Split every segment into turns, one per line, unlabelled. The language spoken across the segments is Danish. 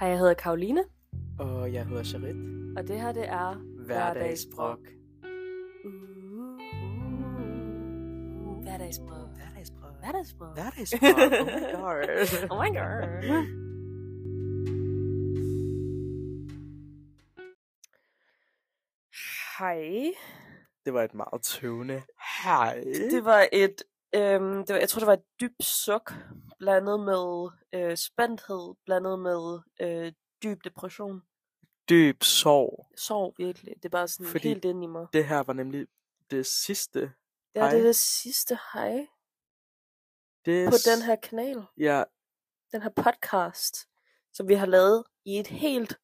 Og jeg hedder Karoline,
Og jeg hedder Charit.
og det her det er...
Hverdagsbrok.
Uh, Hverdagsbrød.
Hverdagsbrok.
Hverdagsbrød.
Hverdagsbrok. Oh my
Oh
god.
my god. Hej.
Det var et meget tøvende. Hej.
Det var et, øhm, det var, jeg tror det var et dybt suk, blandet med øh, spændthed, blandet med øh, dyb depression.
Dyb sorg.
Sorg virkelig, det er bare sådan
Fordi-
Fordi... helt inde i mig.
Det her var nemlig det sidste.
Ja, det
Hej.
er det sidste hej
Det
på den her kanal,
Ja,
den her podcast, som vi har lavet i et helt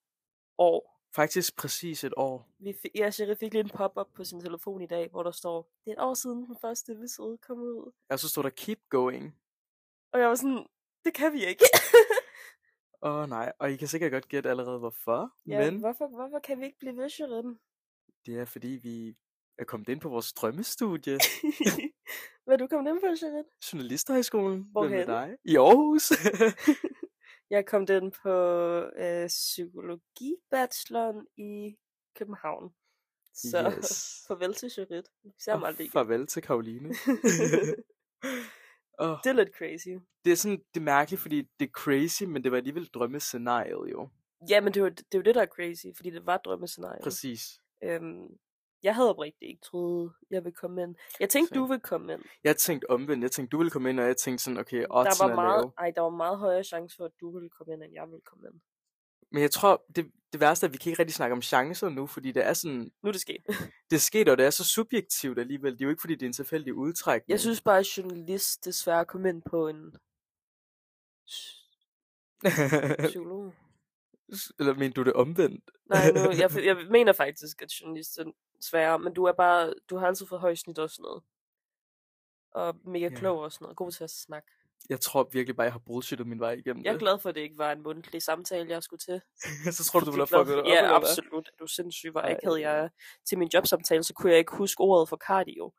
år.
faktisk præcis et år.
Vi fik, ja, Sherry fik lige en pop-up på sin telefon i dag, hvor der står, det er et år siden den første episode kom ud.
Og så stod der keep going.
Og jeg var sådan, det kan vi ikke.
Åh oh, nej, og I kan sikkert godt gætte allerede hvorfor.
ja,
men
hvorfor, hvorfor kan vi ikke blive ved, Sherry?
det er fordi, vi er kommet ind på vores drømmestudie.
Hvad er du kommet ind på, Sherry?
Journalisterhøjskolen. Hvem
Hvorhenne?
med dig? I Aarhus.
Jeg kom den på øh, psykologibacheloren i København. Så yes. farvel til Charit. Vi ser ham
Og
aldrig igen.
farvel til Karoline. og
Det er lidt crazy.
det er sådan, det er mærkeligt, fordi det er crazy, men det var alligevel drømmescenariet jo.
Ja, men det er jo det, er jo det der er crazy, fordi det var drømmescenariet.
Præcis.
Øhm, jeg havde oprigtigt ikke troet, jeg ville komme ind. Jeg tænkte,
Same.
du ville komme ind.
Jeg tænkte omvendt, jeg tænkte, du ville komme ind, og jeg tænkte sådan, okay,
der,
oddsen
var
er
meget,
lave.
ej, der var meget højere chance for, at du ville komme ind, end jeg ville komme ind.
Men jeg tror, det, det værste er, at vi kan ikke rigtig snakke om chancer nu, fordi det er sådan,
Nu er det sket.
det skete, og det er så subjektivt alligevel. Det er jo ikke, fordi det er en tilfældig udtrækning.
Jeg synes bare, at journalist desværre kom ind på en
Øh.
psykolog.
Eller mener du det omvendt?
Nej, nu, jeg, jeg mener faktisk, at journalist er sværere, men du er bare, du har altid fået højt snit og sådan noget. Og mega
Ja.
klog og sådan noget. God til at snakke.
Jeg tror virkelig bare, jeg har bullshittet min vej igennem
Jeg er
det.
glad for, at det ikke var en mundtlig samtale, jeg skulle til.
så tror du, du
Fordi
ville have
blot-
fucket det op,
Ja,
eller hvad?
absolut. Er du sindssyg? Hvor
Ej. øh.
ikke havde jeg til min jobsamtale, så kunne jeg ikke huske ordet for cardio.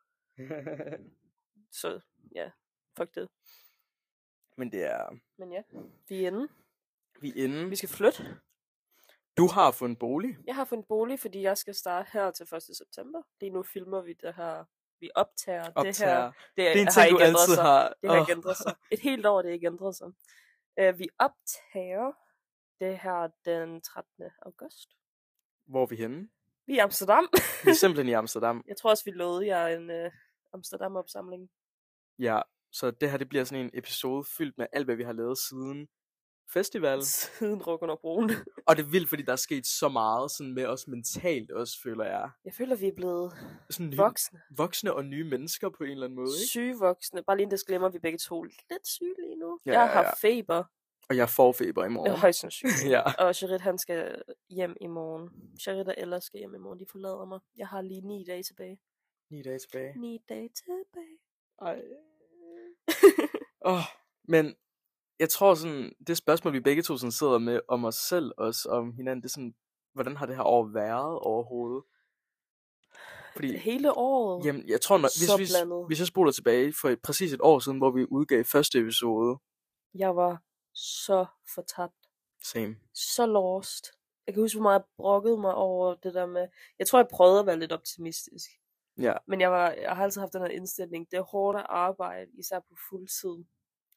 Så ja, fuck det.
Men det er...
Men ja, vi er inde.
Vi er inde.
Vi skal flytte.
Du har fået en bolig.
Jeg har fundet bolig, fordi jeg skal starte her til 1. september. Lige nu filmer vi det her. Vi optager, det her.
Optager.
Det,
Det er en
har
ting, du
ikke ændret
altid
sig.
har.
Det har
Åh.
ikke ændret sig. Et helt år, det har ikke ændret sig. Uh, vi optager det her den 13. august.
Hvor er vi henne?
Vi er i Amsterdam.
Vi er simpelthen i Amsterdam.
Jeg tror også, vi lovede jer en uh, Amsterdam-opsamling.
Ja, så det her det bliver sådan en episode fyldt med alt, hvad vi har lavet siden festival.
Siden Rukken og Broen.
Og det er vildt, fordi der er sket så meget sådan med os mentalt også, føler jeg.
Jeg føler, vi er blevet
Sådan nye,
voksne.
voksne og nye mennesker på en eller anden måde, ikke?
Syge voksne. Bare lige en disclaimer, vi er begge to lidt syge lige nu.
Ja,
jeg
ja,
har
ja.
feber.
Og jeg får feber i
Oh.
morgen.
Højst sandsynligt.
ja.
Og Charit, han skal hjem i morgen. Charit og Ella skal hjem i morgen. De forlader mig. Jeg har lige ni dage tilbage.
Ni dage tilbage.
Ni dage tilbage.
Ej. oh, men jeg tror sådan, det spørgsmål, vi begge to sådan sidder med om os selv også, om hinanden, det er sådan, hvordan har det her år været overhovedet? Fordi,
Hele året.
jamen, jeg tror, når,
så
hvis,
blandet.
vi, hvis jeg spoler tilbage for et, præcis et år siden, hvor vi udgav første episode,
Jeg var så fortabt.
same.
Så lost. Jeg kan huske, hvor meget jeg brokkede mig over det der med... Jeg tror, jeg prøvede at være lidt optimistisk.
Ja.
Men jeg, var, jeg har altid haft den her indstilling. Det er hårdt at arbejde, især på fuld tid.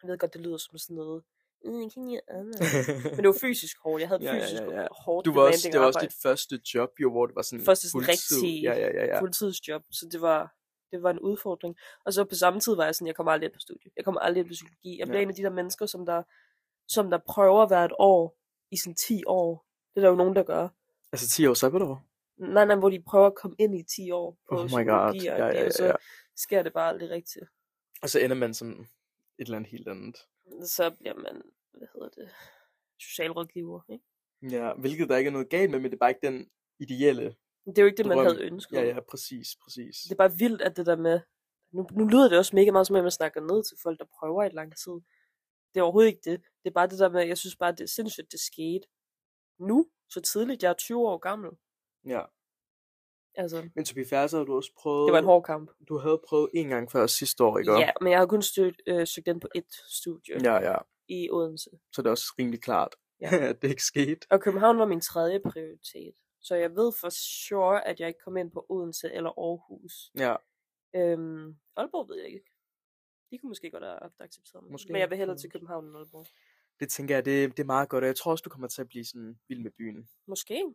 Jeg ved godt, det lyder som sådan noget... "Øh, jeg kan ikke lide andet." Men det var fysisk hårdt. Jeg havde
Ja, ja, ja,
fysisk
ja.
hårdt
du var også,
demanding
det var også
arbejde.
dit første job, jo, hvor det var sådan
Første sådan
fuldtid.
rigtige
Ja, ja, ja, ja.
ja. fuldtidsjob, så det var, det var en udfordring. Og så på samme tid var jeg sådan, jeg kommer aldrig ind på studie. Jeg kommer aldrig ind på psykologi. Jeg bliver ja.
Ja.
en af de der mennesker, som der, som der prøver hvert år i sådan 10 år. Det er der jo nogen, der gør.
Altså 10 år sabbatår.
Nej, nej, hvor de prøver at komme ind i 10 år på
Oh my god.
psykologi,
Ja,
og
ja, ja,
og så
ja.
sker det bare aldrig rigtigt.
Og så ender man som et eller andet helt andet.
Så bliver man, hvad hedder det, socialrådgiver. Ikke?
Ja, hvilket der ikke er noget galt med, men det er bare ikke den ideelle.
Men Det er jo ikke det, man
Drøm.
havde ønsket.
Ja, ja, præcis, præcis.
Det er bare vildt, at det der med... Nu, nu lyder det også mega meget som om, man snakker ned til folk, der prøver i lang tid. Det er overhovedet ikke det. Det er bare det der med, jeg synes bare, det er sindssygt, det skete nu, så tidligt. Jeg er 20 år gammel.
Ja.
Altså,
Men Tobi Færre, så har du også prøvet...
det var en hård kamp.
Du havde prøvet en gang før sidste år, ikke?
Ja, men jeg har kun stødt, øh, søgt den på et studie
ja, ja.
i Odense.
Så det er også rimelig klart.
Ja.
at det ikke skete.
Og København var min tredje prioritet. Så jeg ved for sure, at jeg ikke kom ind på Odense eller Aarhus.
Ja,
Øhm, Aalborg ved jeg ikke. De kunne måske godt have haft accepteret mig.
Måske.
Men jeg vil hellere til København end Aalborg.
det tænker jeg, det, det er meget godt, og jeg tror også, du kommer til at blive sådan vild med byen.
Måske.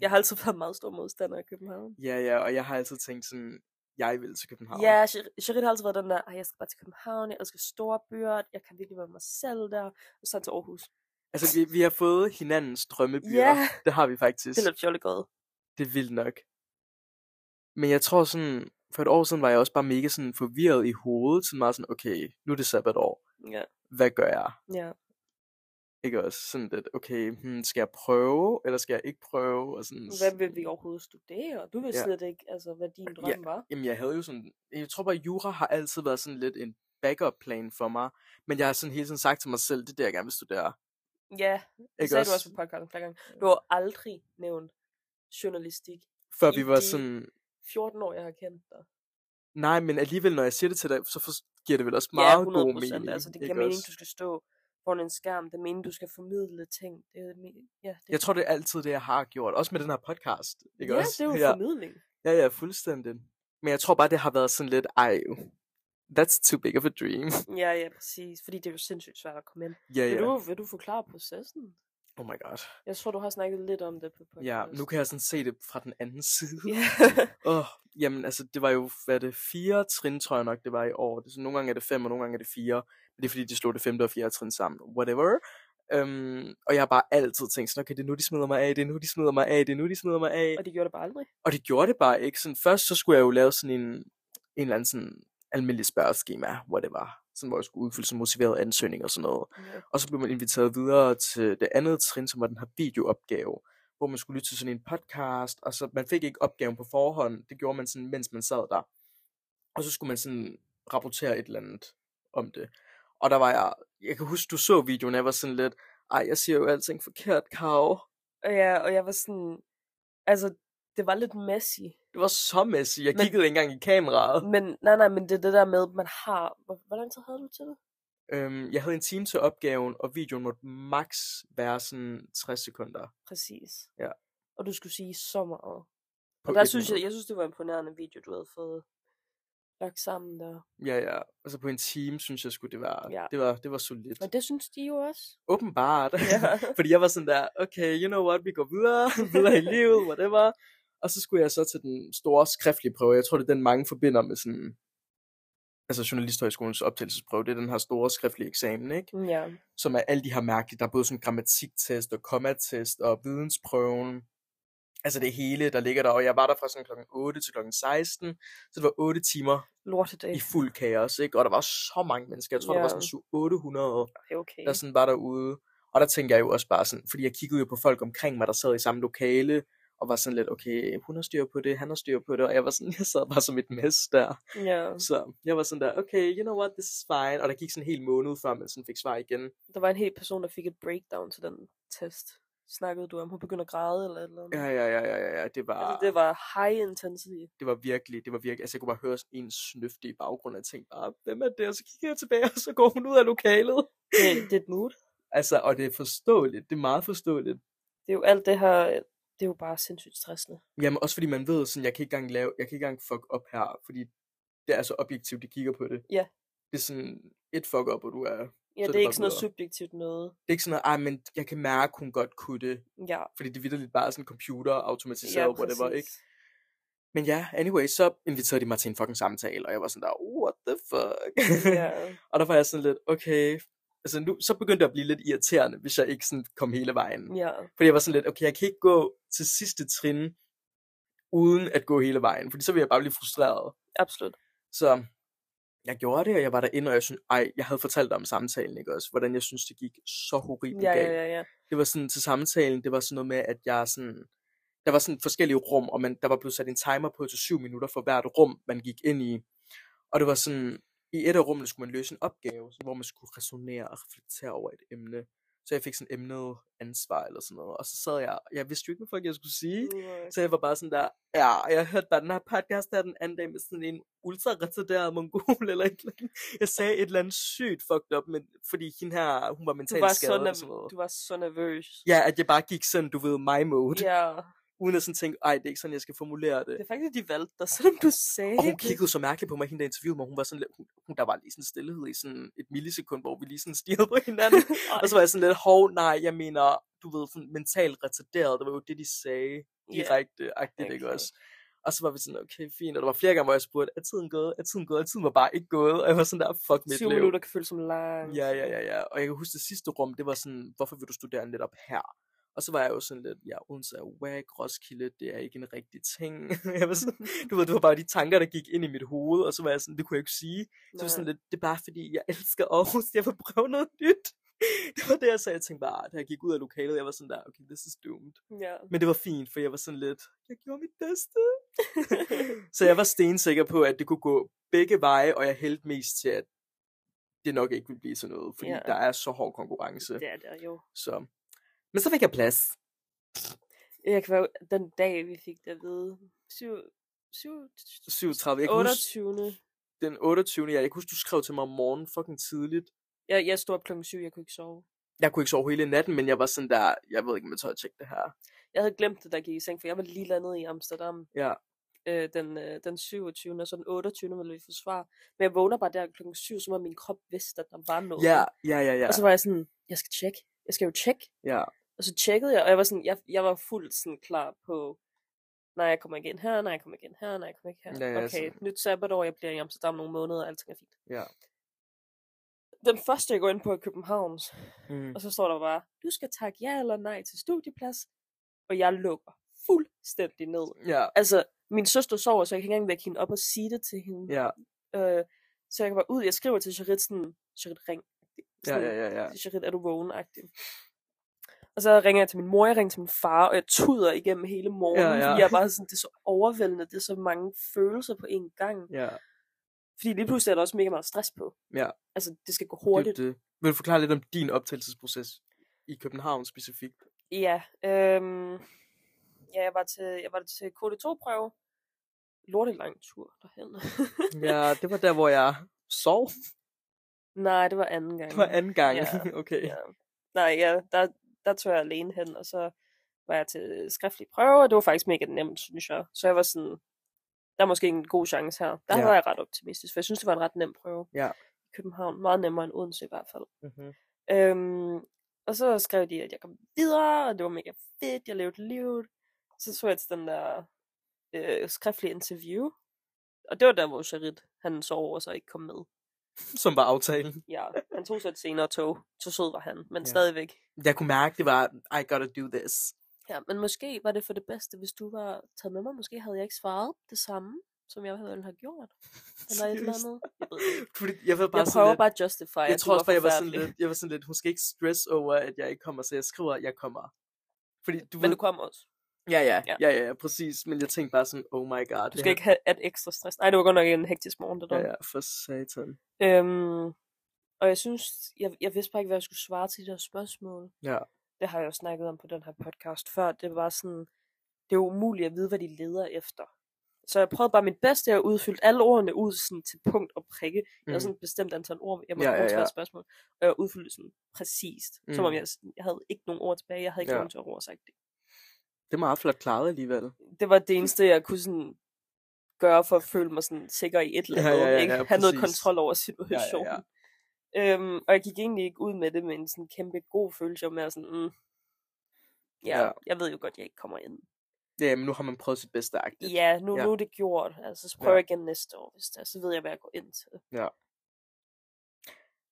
Jeg har altid været meget stor modstander af København.
Ja, ja, og jeg har altid tænkt sådan, jeg vil til København.
Ja, Sher- Sherid har altid været den der, "Ej, jeg skal bare til København, jeg elsker store byer, jeg kan virkelig være mig selv der, og så til Aarhus.
Altså, vi, vi har fået hinandens drømmebyer.
Ja.
Det har vi faktisk.
Det er lidt fjollet gået.
Det er vildt nok. Men jeg tror sådan, for et år siden var jeg også bare mega sådan forvirret i hovedet. Sådan meget sådan, okay, nu er det sabbatår.
Ja.
Hvad gør jeg?
ja.
Ikke også sådan lidt, okay, hmm, skal jeg prøve, eller skal jeg ikke prøve? Og sådan,
Hvad vil vi overhovedet studere? Du ved
Ja.
ja. slet ikke, altså, hvad din drøm
Ja.
var.
Jamen, jeg havde jo sådan... Jeg tror bare, jura har altid været sådan lidt en backup plan for mig. Men jeg har sådan hele tiden sagt til mig selv, det er det, jeg gerne vil studere.
Ja, det
Ikke
sagde
også?
du også på podcasten flere gange. Du har aldrig nævnt journalistik.
Før
i
vi var
det-
sådan...
14 år, jeg har kendt dig.
Nej, men alligevel, når jeg siger det til dig, så for, giver det vel også
ja,
meget
100%,
god mening.
Altså, det
ikke
giver mening,
også?
du skal stå foran en skærm. Det mening, du skal formidle ting. Det er, me- ja, det,
Jeg tror, det er altid det, jeg har gjort. Også med den her podcast. Ikke
ja,
også?
det er jo
ja.
formidling.
ja, ja, fuldstændig. Men jeg tror bare, det har været sådan lidt, ej, that's too big of a dream.
Ja, ja, præcis. Fordi det er jo sindssygt svært at komme ind.
ja,
Vil,
ja.
du, vil du forklare processen?
Oh my god.
Jeg tror, du har snakket lidt om det på podcasten.
Ja, nu kan jeg sådan se det fra den anden side.
Ja.
Åh, jamen altså, det var jo, hvad er det, fire trin, tror jeg nok, det var i år. Det, er sådan, nogle gange er det fem, og nogle gange er det fire. Men det er fordi, de slog det femte og fjerde trin sammen. Whatever. Øhm, og jeg har bare altid tænkt sådan, okay, det er nu, de smider mig af, det er nu, de smider mig af, det er nu, de smider mig af.
Og de gjorde det bare aldrig.
Og det gjorde det bare ikke. Sådan, først så skulle jeg jo lave sådan en, en eller anden sådan almindelig spørgeskema, whatever. Sådan, hvor jeg skulle udfylde sådan motiveret ansøgning og sådan noget.
Ja.
Og så blev man inviteret videre til det andet trin, som var den her videoopgave, hvor man skulle lytte til sådan en podcast, og så man fik ikke opgaven på forhånd, det gjorde man sådan, mens man sad der. Og så skulle man sådan rapportere et eller andet om det. Og der var jeg, jeg kan huske, du så videoen, jeg var sådan lidt, ej, jeg siger jo alting forkert, Karo.
Og, ja, og jeg var sådan... Altså, det var lidt messy.
Det var så messy, jeg
Men-
kiggede ikke engang i kameraet.
Men nej, nej, men det er det der med, at man har... Hvor, hvor lang tid havde du til det?
Øhm, jeg havde en time til opgaven, og videoen måtte max være sådan 60 sekunder.
Præcis.
Ja.
Og du skulle sige så meget.
på
Og der
et
synes
minut.
jeg, jeg synes, det var en imponerende video, du havde fået lagt sammen der.
Ja, ja. Altså på en time, synes jeg skulle det var,
Ja.
det var, det var solidt.
Og det synes de jo også.
Åbenbart.
Ja.
Fordi jeg var sådan der, okay, you know what, vi går videre, videre i livet, whatever. Og så skulle jeg så til den store skriftlige prøve. Jeg tror, det er den, mange forbinder med sådan... Altså Journalisthøjskolens optagelsesprøve, det er den her store skriftlige eksamen, ikke?
Ja.
Som er alle de her mærkelige. Der er både sådan grammatiktest og kommatest og vidensprøven. Altså det hele, der ligger der. Og jeg var der fra sådan klokken 8 til klokken 16. Så det var 8 timer
Lortedag.
i fuld kaos, ikke? Og der var så mange mennesker. Jeg tror, der var
Ja.
sådan 700-800
Det er okay.
der sådan var derude. Og der tænker jeg jo også bare sådan, fordi jeg kiggede jo på folk omkring mig, der sad i samme lokale, og var sådan lidt, okay, hun har styr på det, han har styr på det, og jeg var sådan, jeg sad bare som et mess der.
Ja.
Så jeg var sådan der, okay, you know what, this is fine. Og der gik sådan en hel måned, før man sådan fik svar igen.
Der var en hel person, der fik et breakdown til den test. Snakkede du om, hun begyndte at græde eller et eller andet?
Ja, ja, ja, ja, ja, ja, det var,
Altså, det var high intensity.
det var virkelig, det var virkelig, altså jeg kunne bare høre sådan en snøfte i baggrunden, og jeg tænkte bare, hvem er det? Og så kiggede jeg tilbage, og så går hun ud af lokalet.
Det, det er et mood.
Altså, og det er forståeligt, det er meget forståeligt.
Det er jo alt det her, det er jo bare sindssygt stressende.
Jamen også fordi man ved sådan, jeg kan ikke engang lave, jeg kan ikke engang fuck op her, fordi det er så objektivt, de kigger på det.
Ja.
Det er sådan et fuck op, og du er, det
Ja, det,
er det
er
bare
ikke sådan noget
videre.
subjektivt noget.
er ikke sådan noget, ej, men jeg kan mærke, hun godt kunne det,
Ja,
fordi det er vitterligt bare sådan computer,
ja
automatiseret, ja, whatever,
præcis.
ikke? Men ja, anyway, så inviterede de mig til en fucking samtale, og jeg var sådan der, what the fuck?
Ja.
og der var jeg sådan lidt, okay, altså nu, så begyndte det at blive lidt irriterende, hvis jeg ikke sådan kom hele vejen.
ja,
Fordi jeg var sådan lidt, okay, jeg kan ikke gå til sidste trin, uden at gå hele vejen, fordi så ville jeg bare blive frustreret.
absolut.
Så jeg gjorde det, og jeg var derinde, og jeg synes, ej, jeg havde fortalt om samtalen, ikke også? Hvordan jeg synes, det gik så horribelt
Ja, ja,
galt.
ja, ja.
Det var sådan til samtalen, det var sådan noget med, at jeg sådan... Der var sådan forskellige rum, og man, der var blevet sat en timer på til syv minutter for hvert rum, man gik ind i. Og det var sådan, i et af rummene skulle man løse en opgave, hvor man skulle resonere og reflektere over et emne. Så jeg fik sådan emnet ansvar eller sådan noget. Og så sad jeg, jeg vidste jo ikke, hvad folk jeg skulle sige. Så jeg var bare sådan der, ja, og jeg hørte bare den her podcast der den anden dag med sådan en ultra-retarderet mongol eller et eller andet. Jeg sagde et eller andet sygt fucked up, men, fordi hende her, hun var
Du
mentalt
var, så
skadet og sådan
nerv-
noget.
du var så nervøs.
Ja, at jeg bare gik sådan, du ved, my mode,
ja.
uden at sådan tænke, ej, det er ikke sådan, jeg skal formulere det.
Det er faktisk, de valgte dig, selvom du sagde
Og hun
det.
kiggede så mærkeligt på mig, hende der interviewede mig, hun var sådan lidt, hun, hun, der var lige sådan stillhed i sådan et millisekund, hvor vi lige sådan stirrede på hinanden. og så var jeg sådan lidt, hov, nej, jeg mener, du ved, sådan mentalt retarderet, det var jo det, de sagde direkte, agtigt, ikke
Okay.
også? Og så var vi sådan, okay, fint, og der var flere gange, hvor jeg spurgte, er tiden gået, er tiden gået, og tiden var bare ikke gået, og jeg var sådan der, fuck mit
20
liv.
minutter kan føles som lang.
Ja, ja, ja, ja. Og jeg kan huske det sidste rum, det var sådan, hvorfor vil du studere netop her? Og så var jeg jo sådan lidt, ja, Odense er wack, Roskilde, det er ikke en rigtig ting. jeg var sådan, du ved, det var bare de tanker, der gik ind i mit hoved, og så var jeg sådan, det kunne jeg ikke sige. Så var jeg sådan lidt, det er bare fordi, jeg elsker Aarhus, jeg vil prøve noget nyt. det var det, jeg sagde, jeg tænkte bare, da jeg gik ud af lokalet, jeg var sådan der, okay, this is doomed.
ja.
Men det var fint, for jeg var sådan lidt, jeg gjorde mit bedste. så jeg var stensikker på, at det kunne gå begge veje, og jeg hældte mest til, at det nok ikke ville blive sådan noget, fordi
Ja.
der er så hård konkurrence.
Det er det jo.
Så. Men så fik jeg plads.
Jeg kan være, den dag, vi fik det at vide. 7, 7,
37. Jeg kan huske,
28.
den 28. Ja, jeg kan huske, du skrev til mig om morgenen fucking tidligt.
Jeg, jeg stod op klokken 7, jeg kunne ikke sove.
Jeg kunne ikke sove hele natten, men jeg var sådan der, jeg ved ikke, om jeg tør at tjekke det her.
Jeg havde glemt det, der gik i seng, for jeg var lige landet i Amsterdam
Ja.
øh, den, øh, den 27. og så den 28. ville vi få svar. Men jeg vågner bare der klokken 7, som om min krop vidste, at der var noget.
Ja, ja, ja, ja.
Og så var jeg sådan, jeg skal tjekke. Jeg skal jo tjekke.
ja.
Og så tjekkede jeg, og jeg var, sådan, jeg, jeg var fuldt sådan klar på, nej, jeg kommer igen her, nej, jeg kommer igen her, nej, jeg kommer ikke her.
Ja, ja,
okay,
sådan.
nyt sabbatår, jeg bliver i Amsterdam nogle måneder, og alting er fint.
Ja.
Den første, jeg går ind på, er Københavns,
Mm.
og så står der bare, du skal takke ja eller nej til studieplads, og jeg lukker fuldstændig ned.
Ja,
Altså, min søster sover, så jeg kan ikke engang vække hende op og sige det til hende.
ja,
Øh, så jeg kan bare ud, jeg skriver til Charit sådan, Charit ring.
ja,
Sådan,
ja, ja, ja.
til Charit, er du vågen? -agtig. Og så ringer jeg til min mor, jeg ringer til min far, og jeg tuder igennem hele morgenen,
Ja, ja.
fordi jeg er bare sådan, det er så overvældende, det er så mange følelser på én gang.
ja.
Fordi lige pludselig er der også mega meget stress på.
Ja.
Altså, det skal gå
Det er
hurtigt.
Det, Vil du forklare lidt om din optagelsesproces i København specifikt?
Ja, øhm, ja jeg, var til, jeg var til KD2-prøve. Lortet lang tur derhen.
Ja, det var der, hvor jeg sov.
Nej, det var anden gang.
Det var anden gang.
Ja,
okay.
Ja. Øhm, Nej, ja, der, der tog jeg alene hen, og så var jeg til skriftlig prøve, og det var faktisk mega nemt, synes jeg. Så jeg var sådan, der er måske en god chance her. Der
Ja.
ja. var jeg ret optimistisk, for jeg synes, det var en ret nem prøve.
Ja.
I København, meget nemmere end Odense i hvert fald.
Mm-hmm.
Øhm, og så skrev de, at jeg kom videre, og det var mega fedt, jeg levede livet. Så så jeg til den der øh, skriftlige interview, og det var der, hvor Charit, han sov over så ikke kom med.
Som var aftalen.
Ja, han tog så et senere tog, så sød var han, men
Ja.
ja. stadigvæk.
Jeg kunne mærke, det var, I gotta do this.
Ja, men måske var det for det bedste, hvis du var taget med mig. Måske havde jeg ikke svaret det samme, som jeg havde have gjort. Eller et eller
Seriøst.
andet. Jeg, ved det ikke.
Fordi jeg var bare
jeg
sådan
prøver
lidt,
bare at justify,
jeg,
at
tror
du var
også bare, jeg var sådan
forfærdelig.
lidt, jeg var sådan lidt, hun skal ikke stress over, at jeg ikke kommer, så jeg skriver, at jeg kommer. Fordi du
Men
ved,
du kom også.
ja, ja,
Ja.
ja, ja, ja, præcis, men jeg tænkte bare sådan, oh my god.
Du
det
skal ikke have et ekstra stress. Nej, det var godt nok en hektisk morgen, det
her-
der.
Ja, ja, for satan.
Øhm, og jeg synes, jeg, jeg vidste bare ikke, hvad jeg skulle svare til de der spørgsmål.
Ja.
Det har jeg jo snakket om på den her podcast før. Det var sådan, det er umuligt at vide, hvad de leder efter. Så jeg prøvede bare mit bedste, jeg udfyldte alle ordene ud sådan, til punkt og prikke. Jeg havde
Mm.
sådan et bestemt antal ord, jeg
Ja,
måtte
ja,
bruge til
ja.
ja, spørgsmål. Og jeg udfyldte det sådan præcist, mm. som om
Mm.
jeg, sådan- jeg havde ikke nogen ord tilbage. Jeg havde ikke
Ja.
ja. nogen til at ord sagt det.
Det er meget flot klaret alligevel.
Det var det eneste, jeg kunne sådan gøre for at føle mig sådan sikker i et eller
Ja,
andet.
ja, ja,
ikke?
ja,
Have noget
præcis.
kontrol over situationen. Ja, ja, ja. Øhm, og jeg gik egentlig ikke ud med det med en sådan kæmpe god følelse om, at jeg var sådan, mm, ja,
Ja.
ja, jeg ved jo godt, jeg ikke kommer ind.
Ja, men nu har man prøvet sit bedste agtigt.
Ja, nu,
Ja.
ja. nu er det gjort. Altså, så
Ja.
prøver jeg igen næste år, hvis der, så ved jeg, hvad jeg går ind til.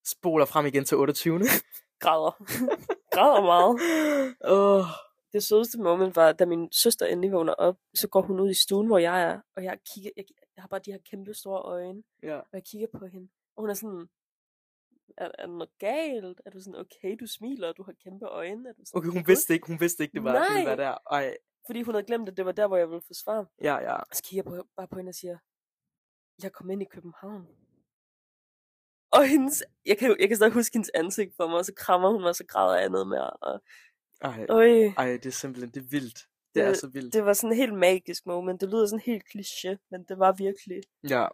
Spoler frem igen til 28.
Græder. Græder meget.
Åh,
det sødeste moment var, da min søster endelig vågner op, så går hun ud i stuen, hvor jeg er, og jeg, kigger, jeg, jeg har bare de her kæmpe store øjne,
ja.
og jeg kigger på hende, og hun er sådan, er, er der noget galt? Er du sådan, okay, du smiler, og du har kæmpe øjne? Er du sådan,
Okay, hun
"Gud."
vidste ikke, hun vidste ikke, det var, det ville
Nej.
være der. Ej,
Fordi hun havde glemt, at det var der, hvor jeg ville få svar.
ja, ja.
Og så kigger jeg på, bare på hende og siger, jeg kom ind i København. Og hendes, jeg kan, jo- jeg kan stadig huske hendes ansigt for mig, og så krammer hun mig, og så græder jeg ned med. Og,
Ej,
øj,
ej, det er simpelthen, det er vildt. Det er
Det-
så vildt.
det var sådan en helt magisk moment. Det lyder sådan helt kliché, men det var virkelig
Ja,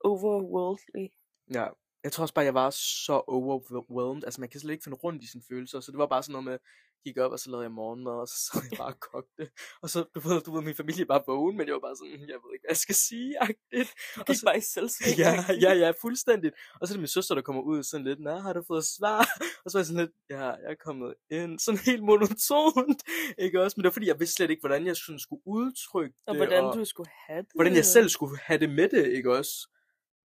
overworldly.
ja. Jeg tror også bare, jeg var så overwhelmed. Altså, man kan slet ikke finde rundt i sine følelser. Så det var bare sådan noget med, jeg gik op, og så lavede jeg morgenmad, og så sad jeg bare og kogte. Og så, du ved, du ved, min familie var vågen, men jeg var bare sådan, "Hmm, jeg ved ikke, hvad jeg skal sige, agtigt.
Du
Og
gik
så,
bare i selvsving.
ja, ja, ja, fuldstændigt. Og så er det min søster, der kommer ud sådan lidt, nej, har du fået svar? Og så er jeg sådan lidt, ja, jeg er kommet ind. Sådan helt monotont, ikke også? Men det var fordi, jeg vidste slet ikke, hvordan jeg sådan skulle udtrykke
Og
det,
hvordan du skulle have det.
hvordan jeg selv skulle have det med det, ikke også?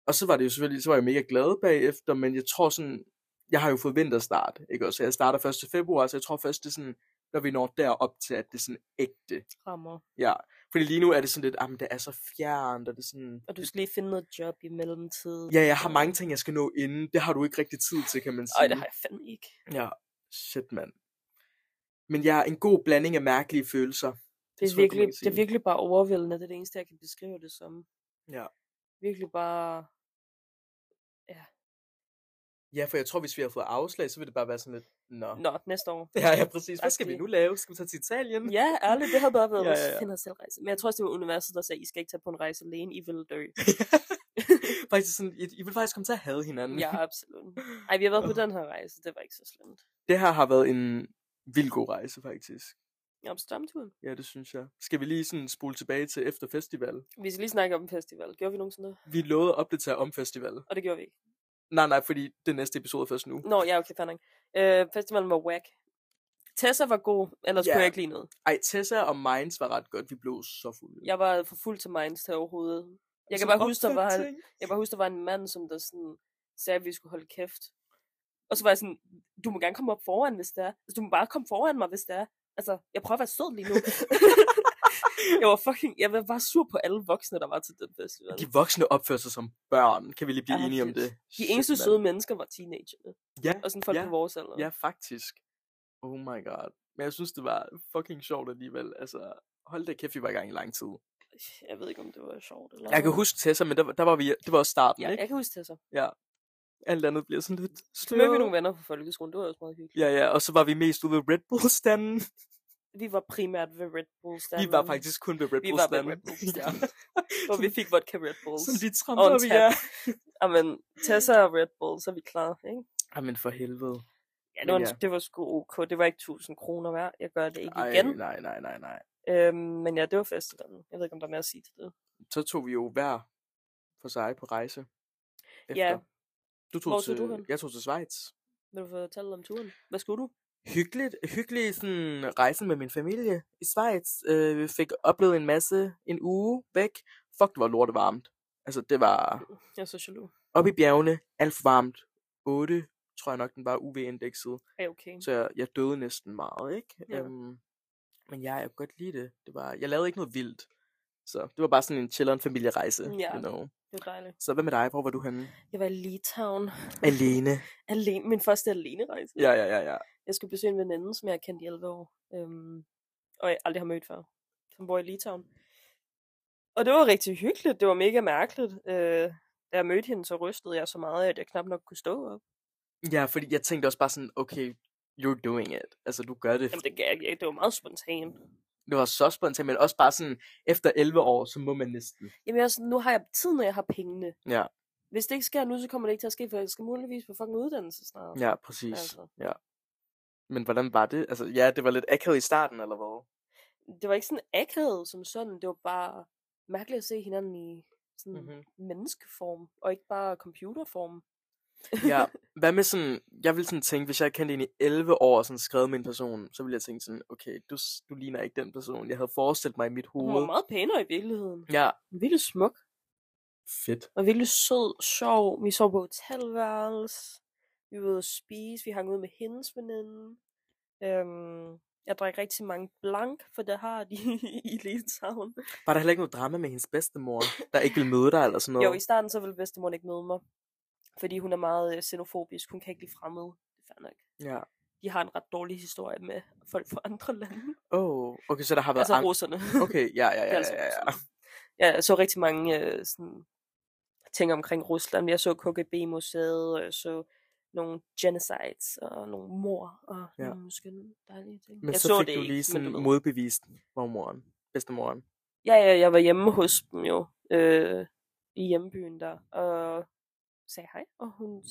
Og så var det jo selvfølgelig, så var jeg mega glad bagefter, men jeg tror sådan, jeg har jo fået vinterstart, ikke også? Så Jeg starter 1. februar, så jeg tror først, det er sådan, når vi når derop til, at det er sådan ægte.
rammer.
Ja, fordi lige nu er det sådan lidt, at det er så fjernt, og det er sådan...
Og du skal lige finde noget job i mellemtiden.
Ja, jeg har mange ting, jeg skal nå inden. Det har du ikke rigtig tid til, kan man sige.
Ej, det har jeg fandme ikke.
Ja, shit, mand. Men jeg er en god blanding af mærkelige følelser.
Det er,
tror jeg,
virkelig,
man kan
det er
sige.
virkelig bare overvældende. Det er det eneste, jeg kan beskrive det som.
Ja.
Virkelig bare...
Ja, for jeg tror, hvis vi har fået afslag, så vil det bare være sådan lidt, nå.
Nå, næste år.
Ja, ja, præcis. Hvad skal vi
Agtig.
nu lave? Skal vi tage til Italien?
Ja, ærligt, det havde bare været
Mm. Ja,
ja,
ja, ja.
ja, ja. selv rejse. Men jeg tror også, det var universet, der sagde, I skal ikke tage på en rejse alene, I vil dø.
faktisk sådan, I, I vil faktisk komme til at have hinanden.
ja, absolut. Ej, vi har været på den her rejse, det var ikke så slemt.
Det her har været en vild god rejse, faktisk.
Ja, på strømturen.
Ja, det synes jeg. Skal vi lige sådan spole tilbage til efter festival?
Vi skal lige snakke om en festival. Gjorde vi nogensinde det?
Vi lovede at opdatere om festival.
Og det gjorde vi ikke.
Nej, nej, fordi det næste episode er først nu.
Nå, ja, okay, fanden. Øh, festivalen var whack. Tessa var god, ellers
Ja.
yeah. kunne jeg ikke lide noget.
Ej, Tessa og Minds var ret godt. Vi blev så fulde.
Jeg var for fuld til Minds til overhovedet. Jeg kan
Som
bare huske, der var,
opdatering.
jeg kan bare huske, der var en mand, som der sådan sagde, at vi skulle holde kæft. Og så var jeg sådan, du må gerne komme op foran, hvis det er. Altså, du må bare komme foran mig, hvis det er. Altså, jeg prøver at være sød lige nu. jeg var fucking, jeg var bare sur på alle voksne, der var til den festival.
De voksne opfører sig som børn. Kan vi lige blive
Ja,
enige om
shit.
det?
De
Shit,
eneste
mand.
søde mennesker var teenagerne.
Ja,
Og sådan folk
ja,
på vores alder.
Ja, faktisk. Oh my god. Men jeg synes, det var fucking sjovt alligevel. Altså, hold da kæft, vi var i gang i lang tid.
Jeg ved ikke, om det var sjovt eller
Jeg kan
noget.
huske Tessa, men der, var- der var vi, det var også starten,
Ja,
ja, ikke?
jeg kan huske det så.
Alt andet bliver sådan lidt
Så mødte vi
sløret.
nogle venner fra folkeskolen, det var også meget hyggeligt.
Ja, ja, og så var vi mest ude ved Red Bull-standen.
Vi var primært ved Red Bull
Vi
standen.
var faktisk kun ved Red
Vi var ved
Bull-standen.
Red Bull
ja.
standen. hvor vi fik vodka Red Bulls.
Som de
Og en
tramper, vi
tap.
er.
Amen, Tessa og Red Bull, så er vi klar, ikke?
Jamen for helvede.
Ja,
Men
det var,
ja.
ja. det var sgu ok. Det var ikke 1000 kroner værd. Jeg gør det ikke
Ej,
igen.
nej, nej, nej, nej.
Øhm, men ja, det var festivalen. Jeg ved ikke, om der er mere at sige til det.
Så tog vi jo hver for sig på rejse. Efter.
Ja.
Du tog
Hvor
til,
tog du hen?
Jeg tog til Schweiz.
Vil du fortælle om turen? Hvad skulle du?
hyggeligt, hyggelig sådan, rejsen med min familie i Schweiz. Øh, vi fik oplevet en masse, en uge væk. Fuck, det var lortet varmt. Altså, det var
Jeg er så jaloux.
op i bjergene, alt for varmt. 8, tror jeg nok, den var UV-indekset.
Ja, okay.
Så jeg, jeg døde næsten meget, ikke? Ja.
Ja.
Øhm, men ja, jeg kunne godt lide det. det var, jeg lavede ikke noget vildt. Så det var bare sådan en chilleren familierejse,
Ja.
you know.
Det var dejligt.
Så hvad med dig? Hvor var du henne?
Jeg var i Litauen.
Alene.
Alene, min første alene rejse.
Ja, ja, ja, ja.
Jeg skulle besøge en veninde, som jeg har kendt i 11 år. Øhm, og jeg aldrig har mødt før. Som bor i Litauen. Og det var rigtig hyggeligt. Det var mega mærkeligt. Øh, da jeg mødte hende, så rystede jeg så meget, at jeg knap nok kunne stå op.
Ja, fordi jeg tænkte også bare sådan, okay, you're doing it. Altså, du gør det,
Jamen, det gav jeg ikke. Det var meget spontant.
det var så spontant, men også bare sådan, efter 11 år, så må man næsten.
Jamen, jeg er sådan, nu har jeg tiden, og jeg har pengene.
Ja.
Hvis det ikke sker nu, så kommer det ikke til at ske, for jeg skal muligvis på fucking uddannelse snart.
Ja, præcis.
Altså.
Ja. Men hvordan var det? Altså, ja, det var lidt akavet i starten, eller hvad?
Det var ikke sådan akavet som sådan. Det var bare mærkeligt at se hinanden i sådan
Mhm.
mm-hmm. menneskeform, og ikke bare computerform.
ja, hvad med sådan, jeg ville sådan tænke, hvis jeg kendte en i 11 år og sådan skrevet med en person, så ville jeg tænke sådan, okay, du, s- du ligner ikke den person, jeg havde forestillet mig i mit
Hun var
hoved.
meget pænere i virkeligheden.
Ja.
Vildt smuk.
Fedt.
Og virkelig sød, sjov. Vi sov på hotelværelse. Vi var ude at spise. Vi hang ud med hendes veninde. Øhm, jeg drak rigtig mange blank, for det har de i Litauen.
Var der heller ikke noget drama med hendes bedstemor, der ikke ville møde dig eller sådan noget?
Jo, i starten så ville bedstemor ikke møde mig. Fordi hun er meget øh, xenofobisk. Hun kan ikke lide fremmede. Det er fair nok.
Ja.
De har en ret dårlig historie med folk fra andre lande.
Oh, okay, så der har været...
Altså
ang-
russerne.
Okay, ja, ja,
Det
ja,
er altså
ja, ja.
russerne. Ja, jeg så rigtig mange øh, sådan, ting omkring Rusland. Jeg så KGB-museet, og jeg så nogle genocides og nogle mor og
Ja.
ja. nogle skønne dejlige ting.
Men
jeg
så
så
fik
det
du
ikke,
lige
men
sådan
du ved.
modbevist mormoren, bedstemoren.
Ja, ja, jeg var hjemme hos dem jo, øh, i hjembyen der, og sagde hej, og hun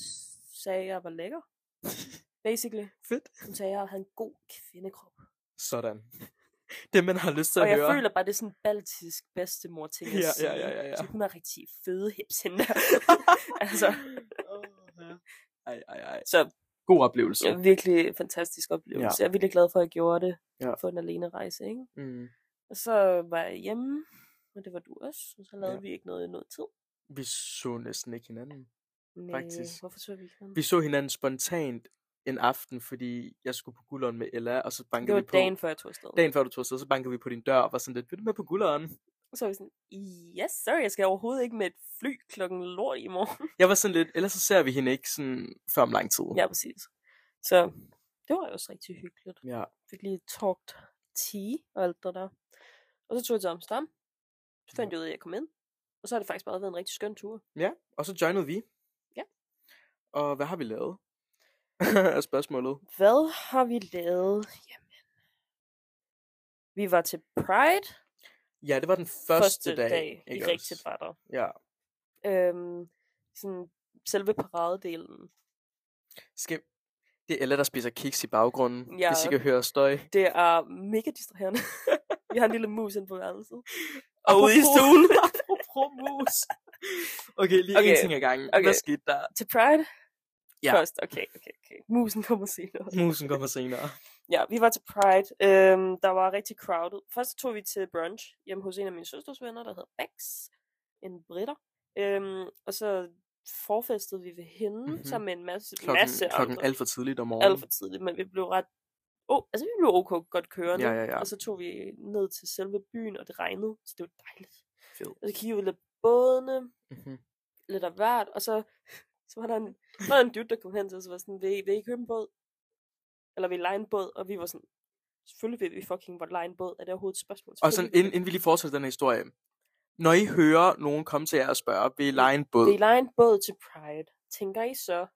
sagde, at jeg var lækker. Basically.
Fedt.
Hun sagde, at jeg havde en god kvindekrop.
Sådan. Det, man har lyst til
og
at
jeg
høre.
føler bare, det er sådan en baltisk bedstemor ting at
Ja, ja,
sige.
ja, ja, ja.
Så hun har rigtig fede hips hende der. altså,
Ej, ej, ej.
så
God oplevelse.
det var virkelig en fantastisk oplevelse. Ja. Jeg er virkelig glad for, at jeg gjorde det
Ja.
på en alene rejse, ikke?
Mm.
Og så var jeg hjemme, og det var du også, og så lavede
Ja.
ja. vi ikke noget i noget tid.
Vi så næsten ikke hinanden.
Næh,
Faktisk.
Hvorfor så vi ikke noget?
Vi så hinanden spontant en aften, fordi jeg skulle på gulderen med Ella, og så
Det
bankede
var
vi på...
dagen før jeg tog afsted.
dagen før du tog afsted, så bankede vi på din dør og var sådan lidt, vil du med på gulderen?
Og så var vi sådan, yes sir, jeg skal overhovedet ikke med et fly klokken lort i morgen.
Jeg var sådan lidt, ellers så ser vi hende ikke sådan før om lang tid.
ja, præcis. Så det var jo også rigtig hyggeligt.
ja.
Fik lige talked tea og alt det der. Og så tog jeg til Amsterdam. Så fandt jeg ud af, at jeg kom ind. Og så har det faktisk bare været en rigtig skøn tur.
ja. Og så joinede vi.
Ja.
Og hvad har vi lavet? er spørgsmålet.
Hvad har vi lavet? Jamen. Vi var til Pride
Ja, det var den første, dag.
dag vi
ikke
rigtigt
også?
var der.
Ja.
Øhm, sådan selve paradedelen.
Skal... Det er Ella, der spiser kiks i baggrunden. Ja.
Ja.
Hvis I kan høre støj.
Det er mega distraherende. vi har en lille mus inde på værelset.
Og ude i
Apropos-
stuen. Apropos mus. Okay, lige okay.
Okay,
en ting ad gangen. Okay.
okay.
Hvad skete der?
Til Pride?
Ja.
Først, okay, okay, okay. Musen kommer senere.
Musen kommer senere.
Ja, vi var til Pride. Øhm, der var rigtig crowded. Først tog vi til brunch hjemme hos en af mine søsters venner, der hed Bex. En britter. Øhm, og så forfestede vi ved hende
Mhm.
mm-hmm. sammen med en masse,
Klokken,
masse
klokken
andre.
alt for tidligt om morgenen.
alt for tidligt, men vi blev ret... Oh, altså, vi blev ok godt kørende.
Ja, ja, ja.
Og så tog vi ned til selve byen, og det regnede, så det var dejligt.
Fed.
Og så kiggede vi lidt på bådene,
Mhm.
lidt af hvert, og så, så var der en, så var der en dude, der kom hen til os og var sådan, vil I, vil I købe en båd? Eller vil I lege en båd? Og vi var sådan, selvfølgelig vil vi fucking godt lege en båd. Er det overhovedet et spørgsmål?
Og sådan, inden, inden vi lige fortsætter den her historie. Når
Mm.
I hører nogen komme til jer og spørge, vil I lege en båd?
Vil I lege en båd til Pride? Tænker I så,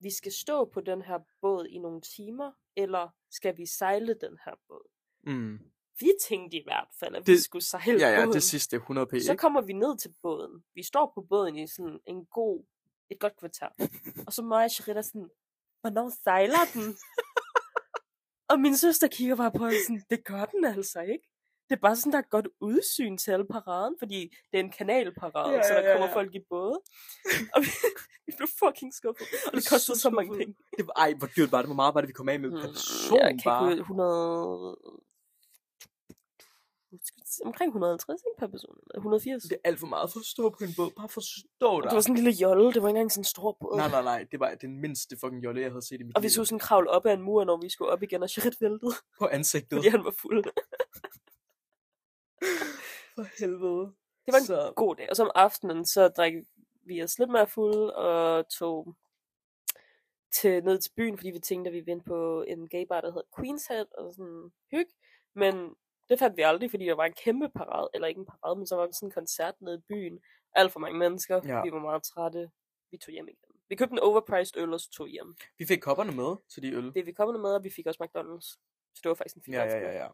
vi skal stå på den her båd i nogle timer, eller skal vi sejle den her båd?
Mm.
Vi tænkte i hvert fald, at det, vi
Det-
skulle sejle
Ja, ja,
båden.
det sidste 100 p.
Så
ikke?
kommer vi ned til båden. Vi står på båden i sådan en god, et godt kvarter. Og så mig og Sherita er sådan, hvornår sejler den? og min søster kigger bare på os sådan, det gør den altså ikke. Det er bare sådan, der er et godt udsyn til alle paraden, fordi det er en kanalparade,
Ja,
ja,
ja,
ja, så der
ja,
kommer
ja.
folk i både. Og vi, vi blev fucking skuffet. Og det
Så
kostede så mange
skuffet.
penge. Hmm,
Det var, ej, hvor dyrt var det? Hvor meget var det, vi kom af med? Per person
Mm. jeg kan ikke
bare.
huske, 100... Omkring 150, ikke per person? eller 180?
Det er alt for meget for at stå på en båd. Bare forstå dig.
Det var sådan en lille jolle, det var ikke engang sådan en stor båd.
Nej, nej, nej. Det var den mindste fucking jolle, jeg havde set i mit
Og vi
liv.
skulle sådan kravle op ad en mur, når vi skulle op igen, og Sherit væltede,
På ansigtet.
fordi han var fuld.
For helvede.
Det var en
Så-
så... god dag. Og så om aftenen, så drak vi os lidt mere fuld, og tog til, ned til byen, fordi vi tænkte, at vi ville ind på en gaybar, der hed Queen's Head, og sådan hyg. Men det fandt vi aldrig, fordi der var en kæmpe parade, eller ikke en parade, men så var sådan en koncert nede i byen. Alt for mange mennesker,
Ja.
ja. vi var meget trætte, vi tog hjem igen. Vi købte en overpriced øl, og så tog hjem.
Vi fik kopperne med til de øl.
Det er vi kommet med, og vi fik også McDonald's. Så det var faktisk en fin
Ja, ja,
aften.
ja, ja.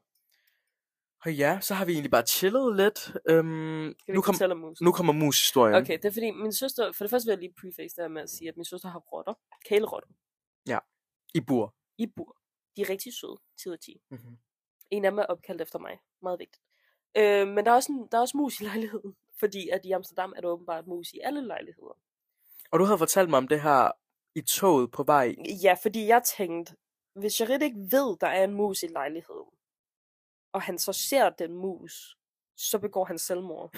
Og ja, så har vi egentlig bare chillet lidt. Øhm,
Skal vi
nu,
ikke
kom,
fortælle om musen?
nu kommer mus-historien.
Okay, det er fordi, min søster, for det første vil jeg lige preface det her med at sige, at min søster har rotter, kælerotter,
I bur.
i bur. De er rigtig søde, 10 ud af 10.
Mhm.
En af dem er opkaldt efter mig, meget vigtigt. Øh, men der er, også en, der er også mus i lejligheden, fordi at i Amsterdam er der åbenbart mus i alle lejligheder.
Og du havde fortalt mig om det her i toget på vej.
Ja, fordi jeg tænkte, hvis Charit ikke ved, der er en mus i lejligheden, og han så ser den mus, så begår han selvmord.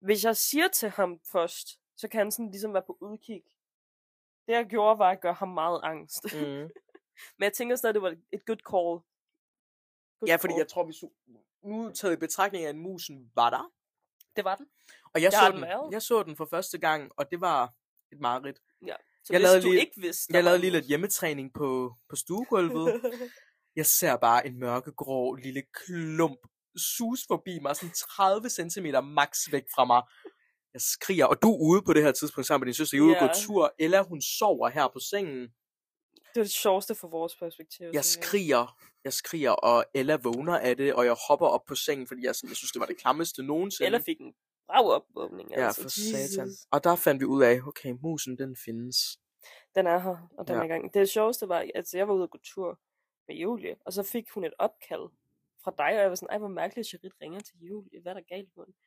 hvis jeg siger til ham først, så kan han sådan ligesom være på udkig. Det jeg gjorde, var at gøre ham meget angst.
Mm.
Men jeg tænker stadig, det var et good call. Good
Ja, fordi
call.
jeg tror, vi så... Nu taget i betragtning af, at musen var der.
Det var den.
Og jeg,
Der
så
har den
den,
været.
jeg så den for første gang, og det var et mareridt.
Så
Jeg
jeg hvis
lavede
du
lige-
ikke vidste... der var
Jeg lavede
en
lige lidt
mus-
hjemmetræning på, på stuegulvet. Jeg ser bare en mørkegrå lille klump sus forbi mig, sådan 30 cm max væk fra mig. jeg skriger, og du er ude på det her tidspunkt sammen med din søster, I er ude og
Ja.
gå tur, eller hun sover her på sengen.
Det var det sjoveste fra vores perspektiv.
Jeg
tænker
skriger, jeg skriger, og Ella vågner af det, og jeg hopper op på sengen, fordi jeg, er sådan, jeg synes, det var det klammeste nogensinde.
Eller fik en brav opvågning.
ja,
altså.
for
Jesus.
satan. Og der fandt vi ud af, okay, musen den findes.
Den er her, og den
Ja.
ja. er i gang. Det sjoveste var, at jeg var ude og gå tur med Julie, og så fik hun et opkald fra dig, og jeg var sådan, ej, hvor mærkeligt, at Charit ringer til Julie. Hvad er der galt med hende?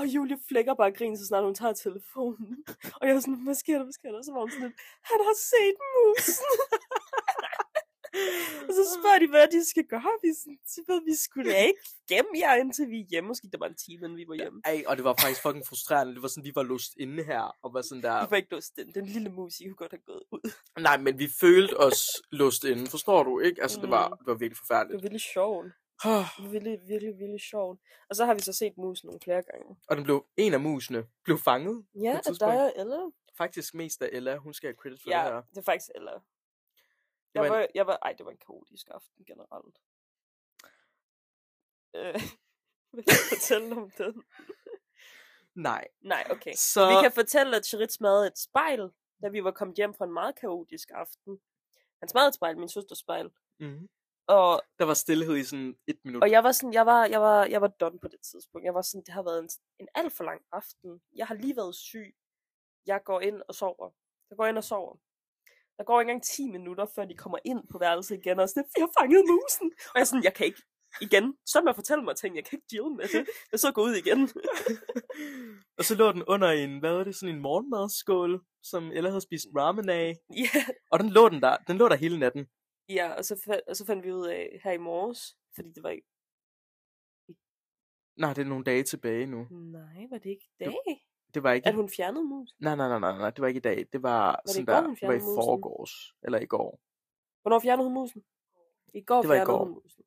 Og Julie flækker bare grin, så snart hun tager telefonen. Og jeg var sådan, hvad sker der, hvad sker der? Så var hun sådan lidt, han har set musen. og så spørger de, hvad de skal gøre. Vi, er sådan, "Det ved vi skulle da ikke gemme jer, indtil vi er hjemme. Måske der var en time, inden vi var hjemme.
Ej, og det var faktisk fucking frustrerende. Det var sådan, vi var låst inde her, og var sådan der...
Vi var ikke låst den. Den lille mus, I kunne godt have gået ud.
Nej, men vi følte os låst inde, forstår du, ikke? Altså, det var,
Mm.
det var virkelig
Det var
forfærdeligt.
virkelig sjovt. virkelig, virkelig, virkelig sjovt. Og så har vi så set musen nogle flere gange.
Og den blev, en af musene blev fanget.
Ja,
på et
og dig og Ella.
Faktisk mest af Ella, hun skal have credit for
Ja,
det her.
det er faktisk Ella.
Det
Jeg
var en-
var, jeg var, ej, det var en kaotisk aften generelt. Øh, vil du fortælle om den?
Nej.
Nej, okay.
Så,
Vi kan fortælle, at Charit smadrede et spejl, da vi var kommet hjem fra en meget kaotisk aften. Han smadrede et spejl, min søsters spejl.
mm,
Og
der var stillhed i sådan et minut.
Og jeg var sådan, jeg var, jeg var, jeg var done på det tidspunkt. Jeg var sådan, det har været en, en alt for lang aften. Jeg har lige været syg. Jeg går ind og sover. Jeg går ind og sover. Der går ikke engang 10 minutter, før de kommer ind på værelset igen, og er sådan, vi har fanget musen. Og jeg er sådan, jeg kan ikke, igen, så med at fortælle mig ting, jeg kan ikke deal med det. Jeg så går ud igen.
Og så lå den under en, hvad var det, sådan en morgenmadsskål, som Ella havde spist ramen af.
Ja,
Og den lå, den der, den lå der hele natten.
ja og, så, fa- og så fandt vi ud af her i morges, fordi det var ikke,
Nej, det er nogle dage tilbage nu.
nej, var det ikke i dag,
Det var ikke...
at hun fjernede musen?
Nej, nej, nej, nej, nej, det var ikke i dag. Det var,
det
sådan
i går,
der,
hun
det var i
fjernede musen?
forgårs, eller i går.
Hvornår fjernede hun musen? I går
Det var i
fjernede
går.
hun musen.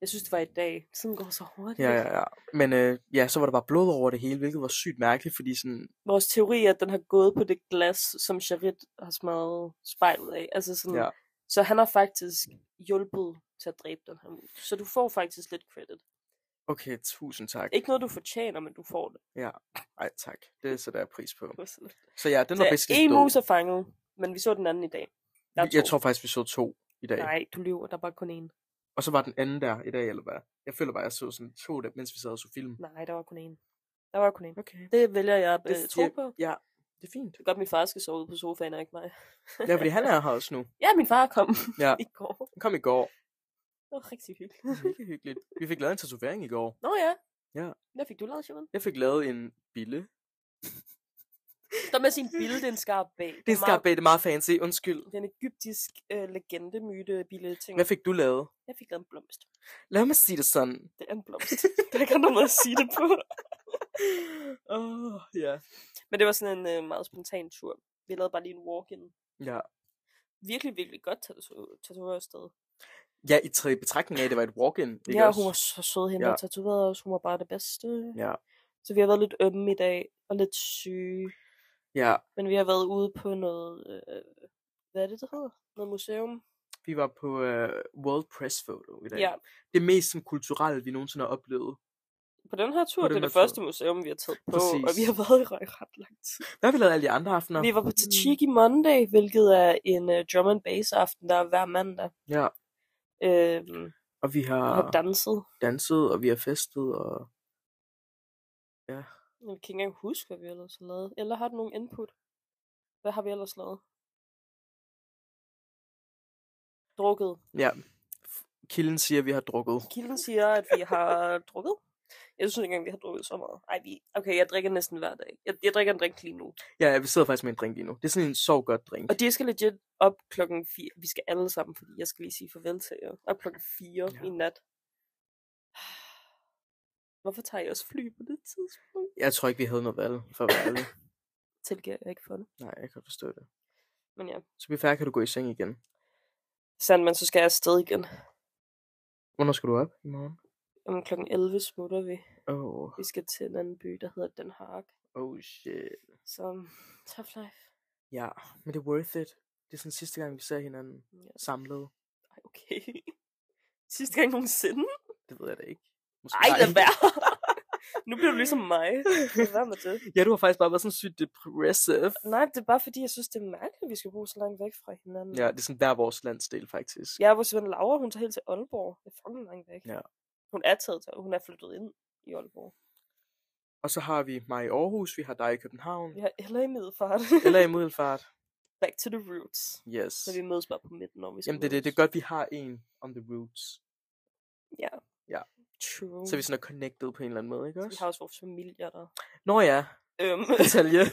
Jeg synes, det var i dag. Tiden går så hurtigt.
Ja, ja, ja. Men øh, ja, så var der bare blod over det hele, hvilket var sygt mærkeligt, fordi sådan,
Vores teori er, at den har gået på det glas, som Charit har smadret spejlet af. Altså sådan,
Ja.
ja. Så han har faktisk hjulpet til at dræbe den her mus. Så du får faktisk lidt credit.
okay, tusind tak.
Ikke noget, du fortjener, men du får det.
Ej, tak. Det sætter jeg pris på.
Det var sådan-
Så ja, den var bedst
Så en mus er fanget, men vi så den anden i dag. Der er
Jeg
to.
tror faktisk, vi så to i dag.
Nej, du lyver. Der er bare kun én.
Og så var den anden der i dag, eller hvad? Jeg føler bare, jeg så sådan to, der, mens vi sad og så film.
Nej, der var kun én. Der var kun én.
Okay.
Det vælger jeg at
Det
øh,
er
tro
fint.
på.
Ja, det er fint.
Det er godt, min far skal sove ude på sofaen, og ikke mig.
Ja, fordi han er her også nu.
Ja, min far kom
Ja.
i går.
Han kom i går.
Det var rigtig hyggeligt.
Virkelig hyggeligt. Vi fik lavet en tatovering i går.
Nå ja.
Ja.
Hvad fik du lavet, Simon?
Jeg fik lavet en bille.
Der med sin bille, det er en skarp bag.
Det er skarpt bag, det er meget fancy. Undskyld.
Den egyptisk øh, legendemyte bille ting.
Hvad fik du lavet?
Jeg fik lavet en blomst.
Lad mig sige det sådan.
Det er en blomst. der kan nogen måde at sige det på.
Åh, oh, ja.
Men det var sådan en øh, meget spontan tur. Vi lavede bare lige en walk-in.
Ja.
Virkelig, virkelig godt tato- tatoversted.
Ja, i tredje betragtning af, at det var et walk-in. ikke
Ja,
også?
hun var så sød hende, ja.
Ja.
der tatoverede os. Hun var bare det bedste.
Ja.
Så vi har været lidt ømme i dag, og lidt syge.
Ja,
Men vi har været ude på noget... Øh, hvad er det, det hedder? Noget museum?
vi var på uh, World Press Photo i dag.
Ja,
Det mest sådan, kulturelle, vi nogensinde har oplevet.
på den her tur,
På
det er det
den her tur.
første museum, vi har taget på, og vi
Præcis.
har været i ret, ret lang tid.
Hvad har vi lavet alle de andre aftener?
Vi var på Tachiki Monday, hvilket er en uh, drum and bass aften, der er hver mandag.
Ja,
Øhm,
og vi har
og har danset.
danset, og vi har festet, og...
Jeg kan ikke engang huske, hvad vi ellers har lavet. Eller har du nogen input? Hvad har vi ellers lavet? Drukket.
Ja, F- kilden siger, at vi har drukket.
Kilden siger, at vi har drukket. Jeg synes ikke engang, vi har drukket så meget. Ej, vi... Okay, jeg drikker næsten hver dag. Jeg, jeg drikker en drink lige nu.
Ja, ja, vi sidder faktisk med en drink lige nu. Det er sådan en sov godt drink.
Og de skal legit op klokken 4. Vi skal alle sammen, fordi jeg skal lige sige farvel til jer. Op klokken 4
Ja.
ja. i nat. Hvorfor tager jeg også fly på det tidspunkt?
Jeg tror ikke, vi havde noget valg for at være ærlig.
Tilgiver jeg ikke for det.
Nej, jeg kan forstå det.
Men ja.
Så vi færdig kan du gå i seng igen.
Sand, men så skal jeg afsted igen.
Hvornår skal du op i morgen?
Om klokken 11 smutter vi.
Oh,
Vi skal til en anden by, der hedder Den Haag.
oh shit.
Så um, tough life.
Ja, men det er worth it. Det er sådan sidste gang, vi ser hinanden
Mm, Ja.
samlet.
Ej, okay. Sidste gang nogensinde.
Det ved jeg da ikke. Måske
Ej, lad være. nu bliver du ligesom mig. Lad være med det.
Ja, du har faktisk bare været sådan sygt depressive.
Nej, det er bare fordi, jeg synes, det er mærkeligt, at vi skal bo så langt væk fra hinanden.
Ja, det er sådan hver vores landsdel, faktisk.
Jeg er vores ven Laura, hun tager helt til Aalborg. Det er fucking langt væk.
Ja.
Hun er taget til, hun er flyttet ind i Aalborg.
Og så har vi mig i Aarhus, vi har dig i København,
Vi har Ella i Middelfart.
eller i Middelfart.
Back to the roots.
Yes.
Så vi mødes bare på midten, når vi skal
Jamen, det, er det, det er godt, vi har en on the roots.
mødes. True.
Så er vi sådan er connected på en eller anden måde, ikke
Mm. Så vi har
også?
også vores familier der.
Nå ja,
Øhm,
detalje.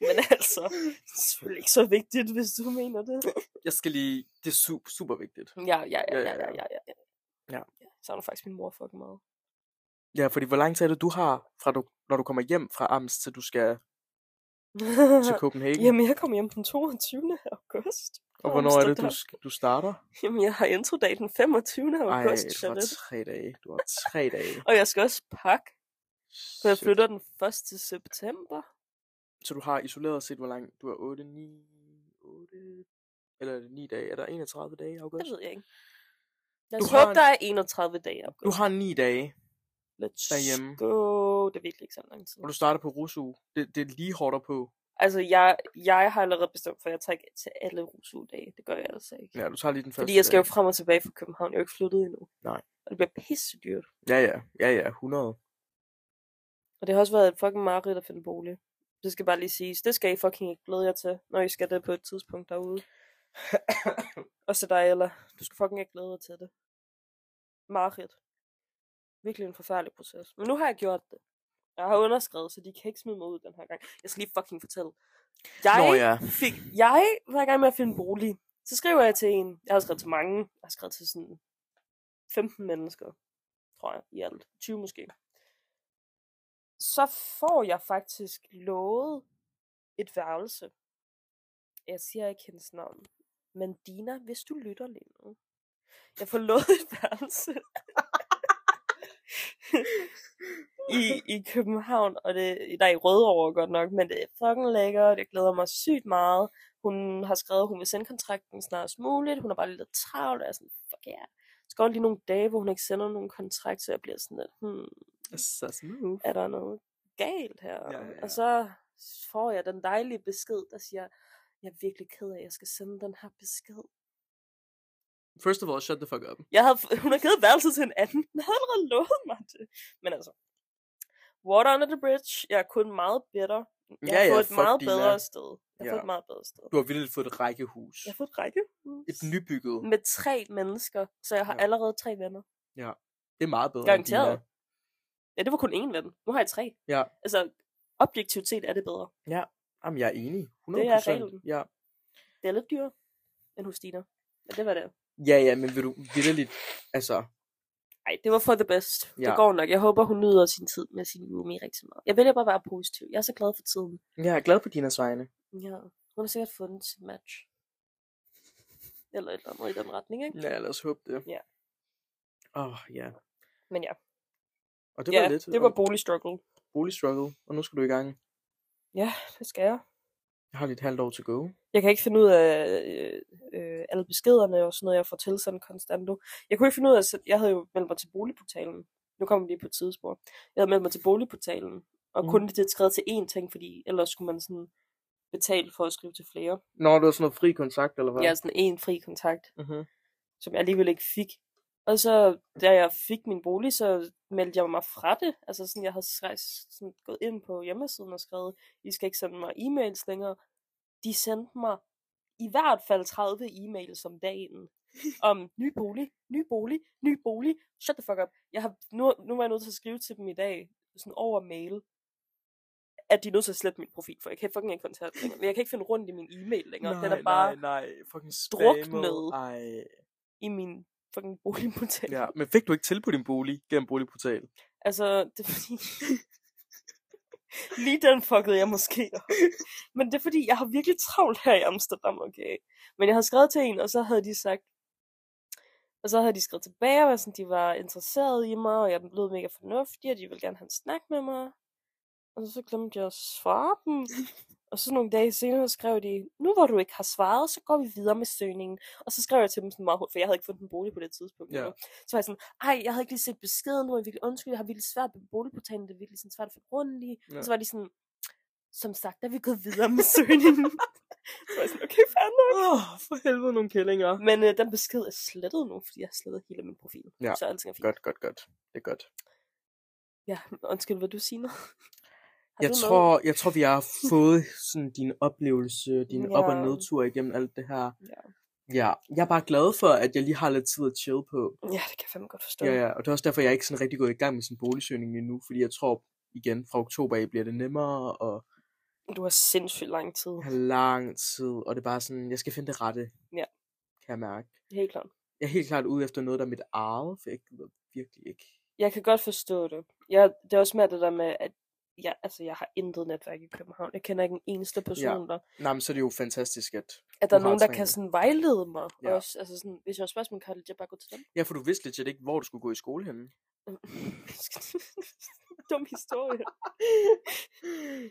men altså, det er selvfølgelig ikke så vigtigt, hvis du mener det.
Jeg skal lige... Det er super, super vigtigt.
Ja, ja, ja,
Ja,
ja,
ja,
ja, ja, ja.
Ja.
Jeg savner faktisk min mor fucking meget.
Ja, fordi hvor lang tid er det, du har, fra du, når du kommer hjem fra Amst, til du skal til Copenhagen?
Jamen, jeg kom hjem den 22. august. fra
og hvornår er det, du,
Amsterdam.
sk- du starter?
Jamen, jeg har introdag den 25.
Ej,
august, Ej,
du har tre dage. Du har tre dage.
Og jeg skal også pakke, for jeg
Shit.
flytter den 1. september.
Så du har isoleret set, hvor lang... Du har 8, 9... 8... Eller er det 9 dage? Er der 31 dage i
Det
august?
ved jeg ikke. Lad
Du
os
har
håbe,
en-
der er 31 dage i
Du
august.
har 9 dage,
Let's
derhjemme.
go. Det er virkelig ikke så lang tid.
og du starter på Rusu. Det, det er lige hårdt på.
Altså, jeg, jeg har allerede bestemt for, at jeg tager ikke til alle rusudage. Det gør jeg altså ikke.
Ja, du tager lige den første
Fordi jeg skal jo
dag.
frem og tilbage fra København. Jeg er jo ikke flyttet endnu.
Nej.
Og det bliver pisse dyrt.
Ja, ja. Ja, ja. 100.
Og det har også været et fucking mareridt at finde bolig. Det skal bare lige siges. Det skal I fucking ikke glæde jer til, når I skal det på et tidspunkt derude. Og så dig, eller du skal fucking ikke glæde dig til det. Mareridt. Virkelig en forfærdelig proces. Men nu har jeg gjort det. Jeg har underskrevet, så de kan ikke smide mig ud den her gang. Jeg skal lige fucking fortælle. Jeg
Nå ja.
fik, jeg var i gang med at finde bolig. Så skriver jeg til en. Jeg har skrevet til mange. Jeg har skrevet til sådan 15 mennesker, tror jeg, i alt. 20 måske. Så får jeg faktisk lovet et værelse. Jeg siger ikke hendes navn. Men Dina, hvis du lytter lige nu. Jeg får lovet et værelse.
Altså.
I, I København, og det der er i Rødovre godt nok, men det er fucking lækkert, jeg glæder mig sygt meget. Hun har skrevet, at hun vil sende kontrakten snarest muligt, hun har bare lidt travlt, og jeg er sådan, fuck ja. Yeah. Så går der lige nogle dage, hvor hun ikke sender nogen kontrakt, så jeg bliver sådan lidt, hmm,
Så smooth.
er der noget galt her?
Ja, ja, ja.
Og så får jeg den dejlige besked, der siger, jeg er virkelig ked af, at jeg skal sende den her besked.
First of all, shut the fuck up.
Jeg havde, hun har givet værelset til en anden. Hun havde allerede lovet mig det. Men altså. Water under the bridge. Jeg er kun meget bitter. Jeg har fået et
fuck
meget
Dina.
bedre sted. Jeg har
Ja.
fået et meget bedre sted.
Du har vildt fået et rækkehus.
Jeg har fået et række.
Et nybygget.
Med tre mennesker. Så jeg har
Ja.
allerede tre venner.
Det er meget bedre end
Garanteret.
dine.
Ja, det var kun én ven. Nu har jeg tre.
Ja.
Altså, objektivt set er det bedre.
Jamen, jeg er enig. 100%.
Det er reglen.
Ja.
Det er lidt dyrere end hos Dina. Men det var det.
Ja, ja, men vil du vidderligt... Altså,
Ej, det var for the best. Ja.
Ja.
Det går nok. Jeg håber, hun nyder sin tid med sin roomie rigtig meget. Jeg vælger bare at være positiv. Jeg er så glad for tiden.
jeg er glad på Dinas vegne.
Ja, hun har sikkert fundet sit match. Eller et eller andet i den retning, ikke?
Ja, lad os håbe det.
Ja.
Åh, oh, ja.
Men ja,
Og det
ja,
var lidt
det var boligstruggle.
boligstruggle, og nu skal du i gang.
Ja, det skal jeg.
Jeg har lige et halvt år to go.
Jeg kan ikke finde ud af øh, øh, alle beskederne og sådan noget, jeg får tilsendt konstant nu. Jeg kunne ikke finde ud af, at jeg havde jo meldt mig til boligportalen. Nu kommer vi lige på et tidsspor. Jeg havde meldt mig til boligportalen, og
Mhm.
mm. kun det skrevet til én ting, fordi ellers skulle man sådan betale for at skrive til flere.
Nå, det var sådan noget fri kontakt, eller hvad?
Jeg er sådan en fri kontakt.
Mm-hmm.
som jeg alligevel ikke fik. Og så, da jeg fik min bolig, så meldte jeg mig fra det. Altså sådan, jeg havde sre- sådan, gået ind på hjemmesiden og skrevet, I skal ikke sende mig e-mails længere. De sendte mig i hvert fald 30 e-mails om dagen. Om ny bolig, ny bolig, ny bolig. Shut the fuck up. Jeg har, nu, nu var jeg nødt til at skrive til dem i dag, sådan over mail, at de er nødt til at slette min profil, for jeg kan fucking ikke kontakte dem længere. Jeg kan ikke finde rundt i min e-mail længere. Den er bare
nej, nej, fucking
druknet.
spammet. Ej.
i min fucking boligportal.
Ja, men fik du ikke tilbudt din bolig gennem boligportal?
Altså, det er fordi... Lige den fuckede jeg måske. op. Men det er fordi, jeg har virkelig travlt her i Amsterdam, okay? Men jeg havde skrevet til en, og så havde de sagt... Og så havde de skrevet tilbage, og var sådan, de var interesserede i mig, og jeg lød mega fornuftig, og de ville gerne have en snak med mig. Og så glemte jeg at svare dem. Og så nogle dage senere skrev de, nu hvor du ikke har svaret, så går vi videre med søgningen. Og så skrev jeg til dem sådan meget hurtigt, for jeg havde ikke fundet en bolig på det tidspunkt.
Ja.
endnu. Så var jeg sådan, ej, jeg havde ikke lige set beskeden, nu er jeg virkelig undskyld, jeg har virkelig svært ved boligportalen, det er virkelig sådan svært at finde rundt i.
Ja.
Ja. Så var de sådan, som sagt, er vi gået videre med søgningen. så var jeg sådan, okay, fair nok.
Åh, oh, for helvede nogle kællinger.
Men øh, den besked er slettet nu, fordi jeg har slettet hele min profil.
Ja.
Så alting er fint.
Godt, godt, godt. Det er godt.
Ja, undskyld, vil du sige noget? Har
Jeg
du
tror, jeg tror, vi har fået sådan din oplevelse, din ja. op- og
Ja.
nedtur igennem alt det her.
Ja.
Ja, jeg er bare glad for, at jeg lige har lidt tid at chill på.
Noget? Ja, det kan jeg fandme godt forstå.
Ja, ja, og det er også derfor, jeg er ikke sådan rigtig gået i gang med sin boligsøgning endnu, fordi jeg tror, igen, fra oktober af bliver det nemmere, og
Du har sindssygt lang tid.
jeg har lang tid, og det er bare sådan, jeg skal finde det rette,
Ja.
kan jeg mærke.
Helt klart.
Jeg er helt klart ude efter noget, der er mit eget, for jeg gider virkelig ikke.
Jeg kan godt forstå det. Jeg, det er også mere det der med, at jeg, altså, jeg har intet netværk i København. Jeg kender ikke en eneste person ja. der.
Nej, men så er det jo fantastisk, at...
At der er
Du har
nogen, der
trænet.
kan sådan vejlede mig.
Ja.
Ja. Også, altså sådan, hvis jeg har spørgsmål, kan jeg bare gå til dem.
Ja, for du vidste legit ikke, hvor du skulle gå i skole henne.
Dum historie.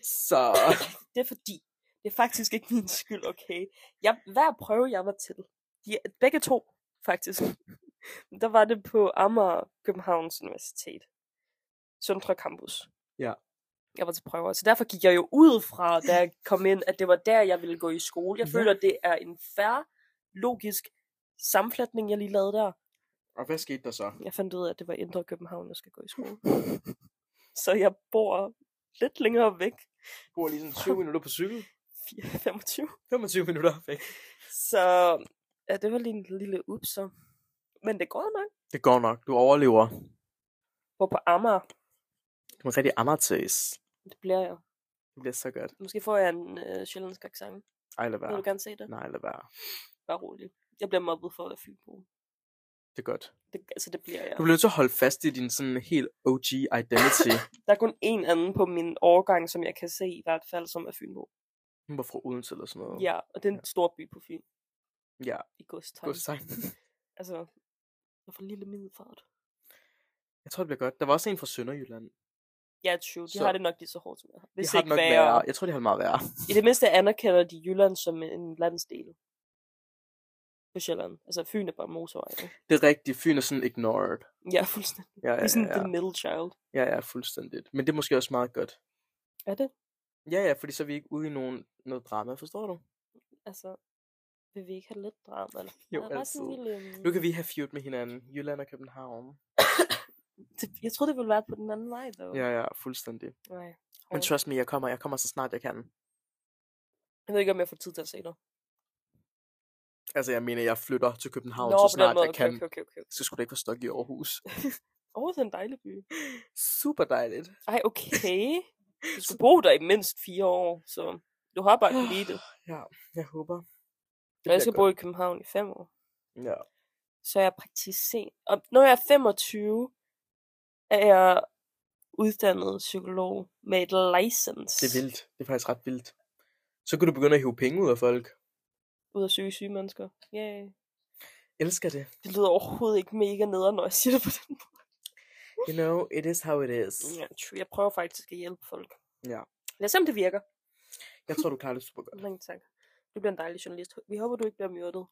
Så...
det er fordi, det er faktisk ikke min skyld, okay? Jeg, hver prøve, jeg var til, de, begge to, faktisk, der var det på Amager Københavns Universitet. Søndre Campus.
Ja.
Jeg var til prøver, så derfor gik jeg jo ud fra, da jeg kom ind, at det var der, jeg ville gå i skole. Jeg
Ja.
føler, det er en færre, logisk sammenflætning, jeg lige lavede der.
Og hvad skete der så?
Jeg fandt ud af, at det var Indre København, jeg skal gå i skole. så jeg bor lidt længere væk.
Du var lige sådan 20 minutter på cykel.
4-25.
25 minutter væk.
Så ja, det var lige en lille upser. Men det går nok.
Det går nok. Du overlever.
Hvor på Amager,
Du er en rigtig amatøs.
det bliver jeg.
Det bliver så godt.
Måske får jeg en øh, sjællandsk accent.
Ej, lad
Ja.
være.
Vil du gerne se det?
Nej, lad være.
Bare rolig. Jeg bliver mobbet for at være fynbo.
Det er godt.
Det, altså, det bliver jeg.
Du bliver nødt til at holde fast i din sådan helt OG identity.
Der er kun én anden på min årgang, som jeg kan se i hvert fald, som er fynbo.
Hun var fra Odense eller sådan noget.
Ja, og det er en stor by på Fyn.
Ja,
I Godstein.
god sang.
Altså, jeg får lille middelfart.
Jeg tror, det bliver godt. Der var også en fra Sønderjylland.
Ja, 20. De
Så-
har det nok lige så hårdt som jeg har. Hvis
de har det
ikke
nok
værre.
værre. Jeg tror, de har det meget værre.
I det mindste anerkender de Jylland som en landsdel. På Sjælland. Altså, Fyn er bare motorvej. ikke?
Det er rigtigt. Fyn er sådan ignored.
Ja, fuldstændig.
Ja,
Det
ja,
er sådan
ja,
the middle child.
ja, ja, fuldstændigt. Men det er måske også meget godt.
Er det?
Ja, ja, fordi så er vi ikke ude i nogen, noget drama, forstår du?
Altså, vil vi ikke have lidt drama? Eller?
Jo,
Bare sådan en
altid.
lille... øhm,
Nu kan vi have feud med hinanden. Jylland og København.
Det- Jeg troede, det ville være på den anden vej, dog.
Ja, ja, fuldstændig.
Nej.
Men
Hårdt.
trust me, jeg kommer. Jeg kommer så snart, jeg kan.
Jeg ved ikke, om jeg får tid til at se dig.
Altså, jeg mener, jeg flytter til København
Nå,
så
på den
snart
måde.
jeg
Okay,
kan.
okay, okay, okay.
Så skulle det ikke være stok i Aarhus.
Åh, det er en dejlig by.
Super dejligt.
Ej, okay. Du skal bo der i mindst fire år, så du har bare ikke lige det.
Ja, jeg håber.
Og jeg skal
bliver
bo i København i fem år.
godt. Ja.
så er jeg praktiserende. Og når jeg er 25, er jeg uddannet psykolog med et license.
Det er vildt. Det er faktisk ret vildt. Så kunne du begynde at hive penge ud af folk.
Ud at søge syge mennesker. Yeah.
Elsker det.
Det lyder overhovedet ikke mega nederen, når jeg siger det på den måde.
You know, it is how it is.
Mm, Ja, true. Jeg prøver faktisk at hjælpe folk.
Ja.
Lad os se, om det virker.
Jeg tror, du klarer det super godt.
Mange tak. Du bliver en dejlig journalist. Vi håber, du ikke bliver myrdet.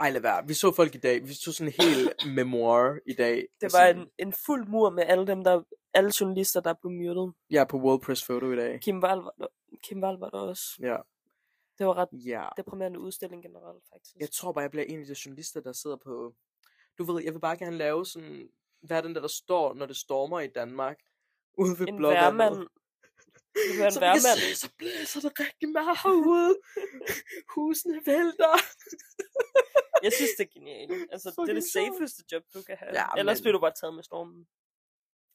Ej, lad være. Vi så folk i dag. Vi så sådan en hel memoir i dag.
Det
af
var
sådan-
en, en fuld mur med alle dem, der alle journalister, der blev myrdet.
Ja, på World Press Photo i dag.
Kim Wall var der, Kim Wall var der også.
Ja.
Det var ret
Ja.
deprimerende udstilling generelt, faktisk.
Jeg tror bare, jeg bliver en af de journalister, der sidder på... Du ved, jeg vil bare gerne lave sådan... Hvad er den der, der står, når det stormer i Danmark? Ude ved
en
Blåvandet.
værmand. Det var en
så, vi kan
værmand.
se, så blæser det rigtig meget herude. Husene vælter.
Jeg synes, det er genialt. Altså, det er
Fucking
det
sjovt.
safeste job, du kan have.
Ja,
Ja, Ellers
men-
bliver du bare taget med stormen.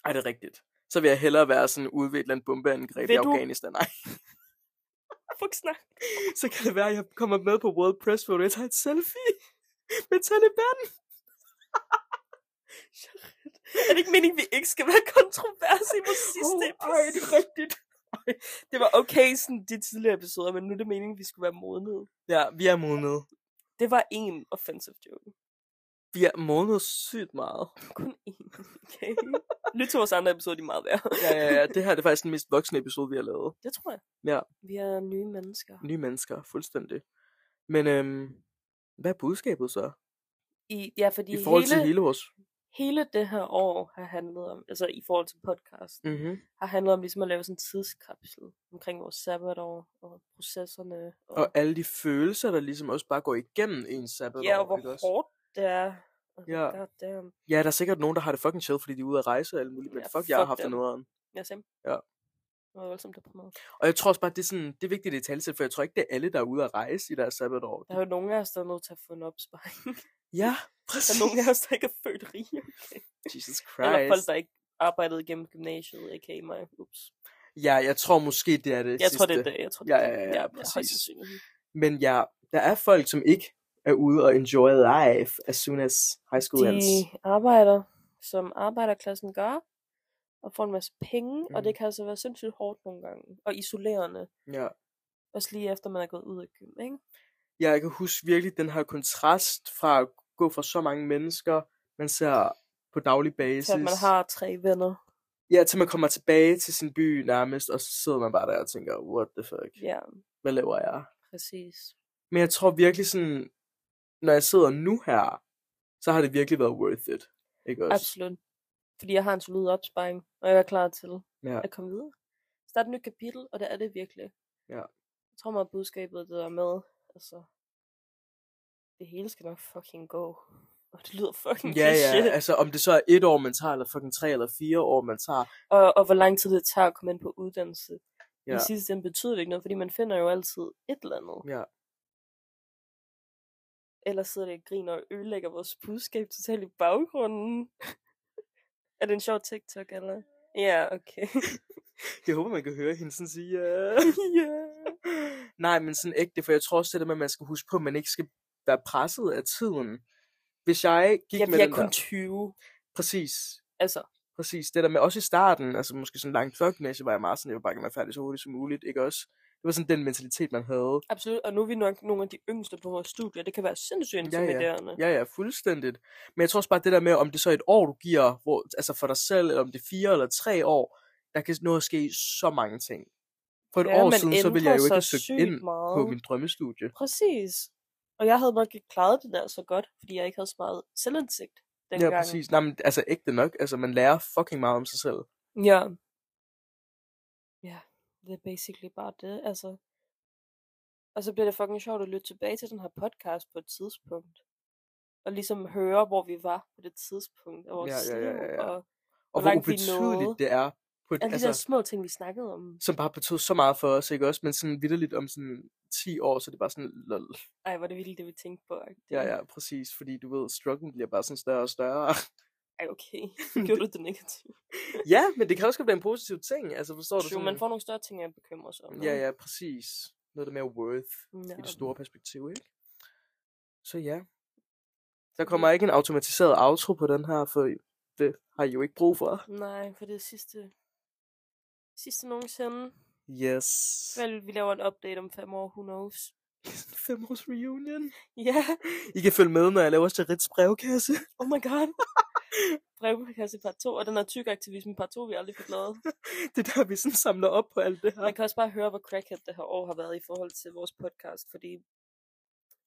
Ej, det er rigtigt. Så vil jeg hellere være sådan ude ved et eller andet bombeangreb i
Vil du-
Afghanistan. Nej,
Fuck snak.
så kan det være, at jeg kommer med på World Press Photo. Jeg tager et selfie med Taliban.
Er det ikke meningen, vi ikke skal være kontrovers i vores sidste
Åh,
oh,
ej, det er rigtigt.
Det var okay, sådan de tidligere episoder, men nu er det meningen, vi skulle være modnet.
Ja, vi er modnet.
Det var en offensive joke.
Vi har månet sygt meget.
Kun én. Okay. Lyt til vores andre episoder, de er meget værd.
Ja, ja, ja. Det her det er faktisk den mest voksne episode, vi har lavet.
Det tror jeg.
Ja.
Vi er nye mennesker.
Nye mennesker, fuldstændig. Men øhm, hvad er budskabet så?
I, ja, fordi
I forhold
hele,
til hele vores...
hele det her år har handlet om, altså i forhold til podcast,
Mm-hmm.
har handlet om ligesom at lave sådan en tidskapsel omkring vores sabbatår og processerne. Og,
Og alle de følelser, der ligesom også bare går igennem en sabbatår.
ja, og hvor
ikke også?
hårdt det er. Oh,
Ja.
God damn.
Ja, der er sikkert nogen, der har det fucking chill, fordi de er ude at rejse og alt muligt, men
Ja,
fuck, jeg har
fuck
haft det
dem.
noget
Ja, Sam.
Ja.
Det var voldsomt deprimeret.
Og jeg tror også bare, det er, sådan, det er vigtigt, det er talsæt, for jeg tror ikke, det er alle, der er ude at rejse i deres sabbatår.
Der er jo nogen af os, der er nødt til at få en opsparing.
Ja,
der
præcis.
er nogen af os, der ikke er født rige.
Jesus Christ.
Eller folk, der ikke arbejdede igennem gymnasiet, a.k.a. mig. Ups.
Ja, jeg tror måske, det er det
Jeg
sidste.
tror, det er det. Jeg tror, det
Ja,
er det.
ja, ja,
højst
præcis.
sandsynligt.
Men ja, der er folk, som ikke er ude og enjoy life as soon as high school ends.
De arbejder, som arbejderklassen gør, og får en masse penge, mm. og det
Mhm.
kan altså være sindssygt hårdt nogle gange, og isolerende,
Ja.
også lige efter man er gået ud af gym, ikke?
ja, jeg kan huske virkelig den her kontrast fra at gå fra så mange mennesker, man ser på daglig basis.
Til at man har tre venner.
Ja, til man kommer tilbage til sin by nærmest, og så sidder man bare der og tænker, what the fuck,
Ja,
hvad laver jeg?
præcis.
Men jeg tror virkelig sådan, når jeg sidder nu her, så har det virkelig været worth it. Ikke også?
Absolut. Fordi jeg har en solid opsparing, og jeg er klar til
Ja.
at komme videre. Start et nyt kapitel, og det er det virkelig.
Ja.
Jeg tror meget, budskabet det der med, altså, det hele skal nok fucking gå. Og det lyder fucking
Ja,
cliché.
ja, altså om det så er et år, man tager, eller fucking tre eller fire år, man tager.
og, og hvor lang tid det tager at komme ind på uddannelse. Ja.
Ja.
I sidste ende betyder det ikke noget, fordi man finder jo altid et eller andet.
Ja.
Ellers sidder det og griner og ødelægger vores budskab totalt i baggrunden. er det en sjov TikTok, eller? Ja, okay.
Jeg håber, man kan høre hende sådan sige, ja.
ja.
Nej, men sådan ægte, for jeg tror også det der med, at man skal huske på, at man ikke skal være presset af tiden. Hvis jeg gik
Jeg,
med
jeg
den
er kun
der,
20.
præcis,
Altså,
Præcis, det der med, også i starten, altså måske sådan langt før gymnasiet, var jeg meget sådan, jeg vil bare gerne være færdig så hurtigt som muligt, ikke også? Det var sådan den mentalitet, man havde.
absolut. Og nu er vi nok nogle af de yngste på vores studie. Det kan være sindssygt
ja.
intimiderende.
Ja, ja, fuldstændigt. Men jeg tror også bare, det der med, om det så er et år, du giver, hvor, altså for dig selv, eller om det er fire eller tre år, der kan nå at ske så mange ting. For et år
man
siden, så ville
ændrer
jeg jo ikke have
sig
søgt
sygt
ind
meget.
på min drømmestudie.
Præcis. Og jeg havde nok ikke klaret det der så godt, fordi jeg ikke havde så meget selvindsigt
ja,
dengang.
præcis. Nej, men altså ægte nok. Altså, man lærer fucking meget om sig selv.
Ja. Ja, det er basically bare det, altså. Og så bliver det fucking sjovt at lytte tilbage til den her podcast på et tidspunkt. Og ligesom høre, hvor vi var på det tidspunkt, og vores
Ja, ja, ja,
liv,
ja, Altså ja.
og
Og hvor
langt vi nåede.
ubetydeligt det er. På et,
alle de der små ting, vi snakkede om.
som bare betød så meget for os, ikke også? Men sådan vidderligt om sådan 10 år, så er det bare sådan, lol.
Ej, hvor er det vildt, det vi tænkte på. agtigt.
Ja, ja, præcis, fordi du ved, strugglen bliver bare sådan større og større.
Ej, okay. Gjorde du det negativt?
ja, men det kan også godt blive en positiv ting, altså forstår du?
Jo, man får nogle større ting, jeg bekymrer sig om.
Ja, ja, præcis. Noget, der er mere worth
ja.
i det store perspektiv, ikke? Så ja. Der kommer ikke en automatiseret outro på den her, for det har I jo ikke brug for.
Nej, for det er sidste, sidste nogensinde.
Yes.
Vel, vi laver en update om fem år, who knows.
5 års reunion.
Ja, yeah.
I kan følge med, når jeg laver Charits brevkasse.
oh my god. Brevkasse part 2, og den her tykaktivisme part 2, vi aldrig fik lavet.
Det er der, vi sådan samler op på alt det her.
Man kan også bare høre, hvor crackhead det her år har været i forhold til vores podcast, fordi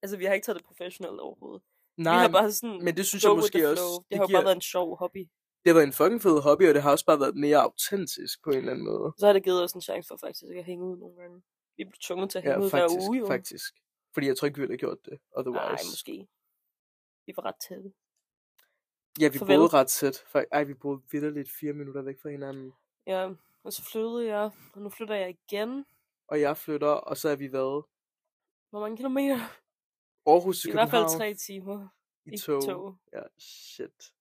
altså, vi har ikke taget det professionelt overhovedet. vi har bare sådan
Men det synes
go
jeg
with
måske
the
også,
flow. Det,
det,
har jo
giver,
bare været en sjov hobby.
det har været en fucking fed hobby, og det har også bare været mere autentisk på en eller anden måde.
Så har det givet os en chance for faktisk at hænge ud nogle gange. Vi blev tvunget til at hænge ud
faktisk,
hver uge, jo.
faktisk. Fordi jeg tror ikke, vi ville have gjort det
Nej,
otherwise.
måske. Vi var ret tætte.
ja, vi
farvel.
boede ret tæt. Fak- Ej, vi boede vidderligt fire minutter væk fra hinanden.
Ja, og så flyttede jeg, og nu flytter jeg igen.
Og jeg flytter, og så er vi været
Hvor mange kilometer?
Aarhus
I
til
hvert
København
fald tre timer
i tog.
tog.
Ja, shit.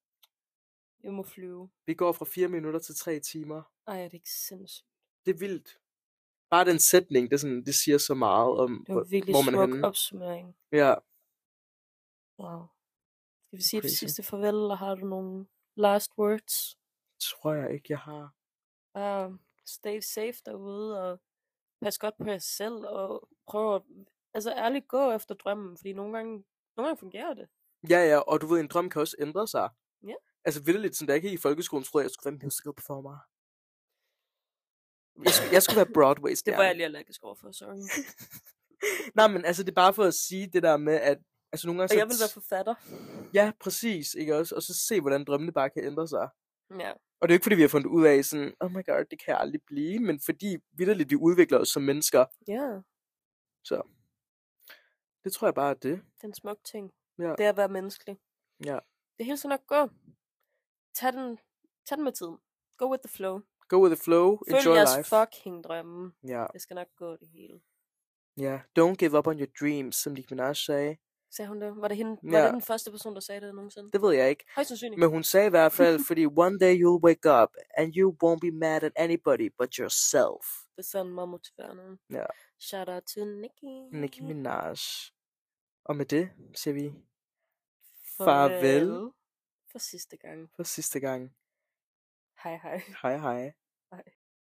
Jeg må flyve.
Vi går fra fire minutter til tre timer.
Ej, er det ikke sindssygt.
Det er vildt. Bare den sætning, det, er sådan, det siger så meget om,
Det var
hvor,
virkelig
hvor man er
smuk
henne.
opsummering.
Ja,
Wow. Skal vi sige det
Crazy.
sidste farvel, eller har du nogle last words?
tror jeg ikke, jeg har.
Bare stay safe derude, og pas godt på jer selv, og prøv at altså, ærligt gå efter drømmen, fordi nogle gange, nogle gange fungerer det.
Ja, ja, og du ved, en drøm kan også ændre sig.
Ja.
Altså vildt, sådan der ikke i folkeskolen troede, jeg, jeg skulle være musical performer. Jeg skulle, jeg skulle være Broadway
Det var
stjerne.
jeg lige allergisk overfor, sorry.
Nej, men altså, det er bare for at sige det der med, at altså, nogle gange...
Og
så
jeg vil være forfatter.
Ja, præcis, ikke også? Og så se, hvordan drømmene bare kan ændre sig.
Ja.
Og det er jo ikke, fordi vi har fundet ud af sådan, oh my god, det kan jeg aldrig blive, men fordi vidderligt vi udvikler os som mennesker.
Ja,
Det tror jeg bare er det.
det er en smuk ting.
Ja.
Det er at være menneskelig.
Ja.
Det hele skal nok gå. Tag den, tag den med tiden. Go with the flow.
Go with the flow,
Følg
enjoy
jeres
life.
fucking drømme.
Ja,
Det skal nok gå det hele.
ja. Don't give up on your dreams, som Nicki Minaj sagde.
Sagde hun det? Var det, hende, ja.
Ja.
var det den første person, der sagde det nogensinde?
Det ved jeg ikke.
Højst sandsynligt.
Men hun sagde i hvert fald, fordi one day you'll wake up, and you won't be mad at anybody but yourself.
Det er sådan meget motiverende.
Ja.
Shout out to Nicki.
Nicki Minaj. Og med det siger vi farvel.
Farvel. For sidste gang.
for sidste gang.
Hej hej.
Hej hej.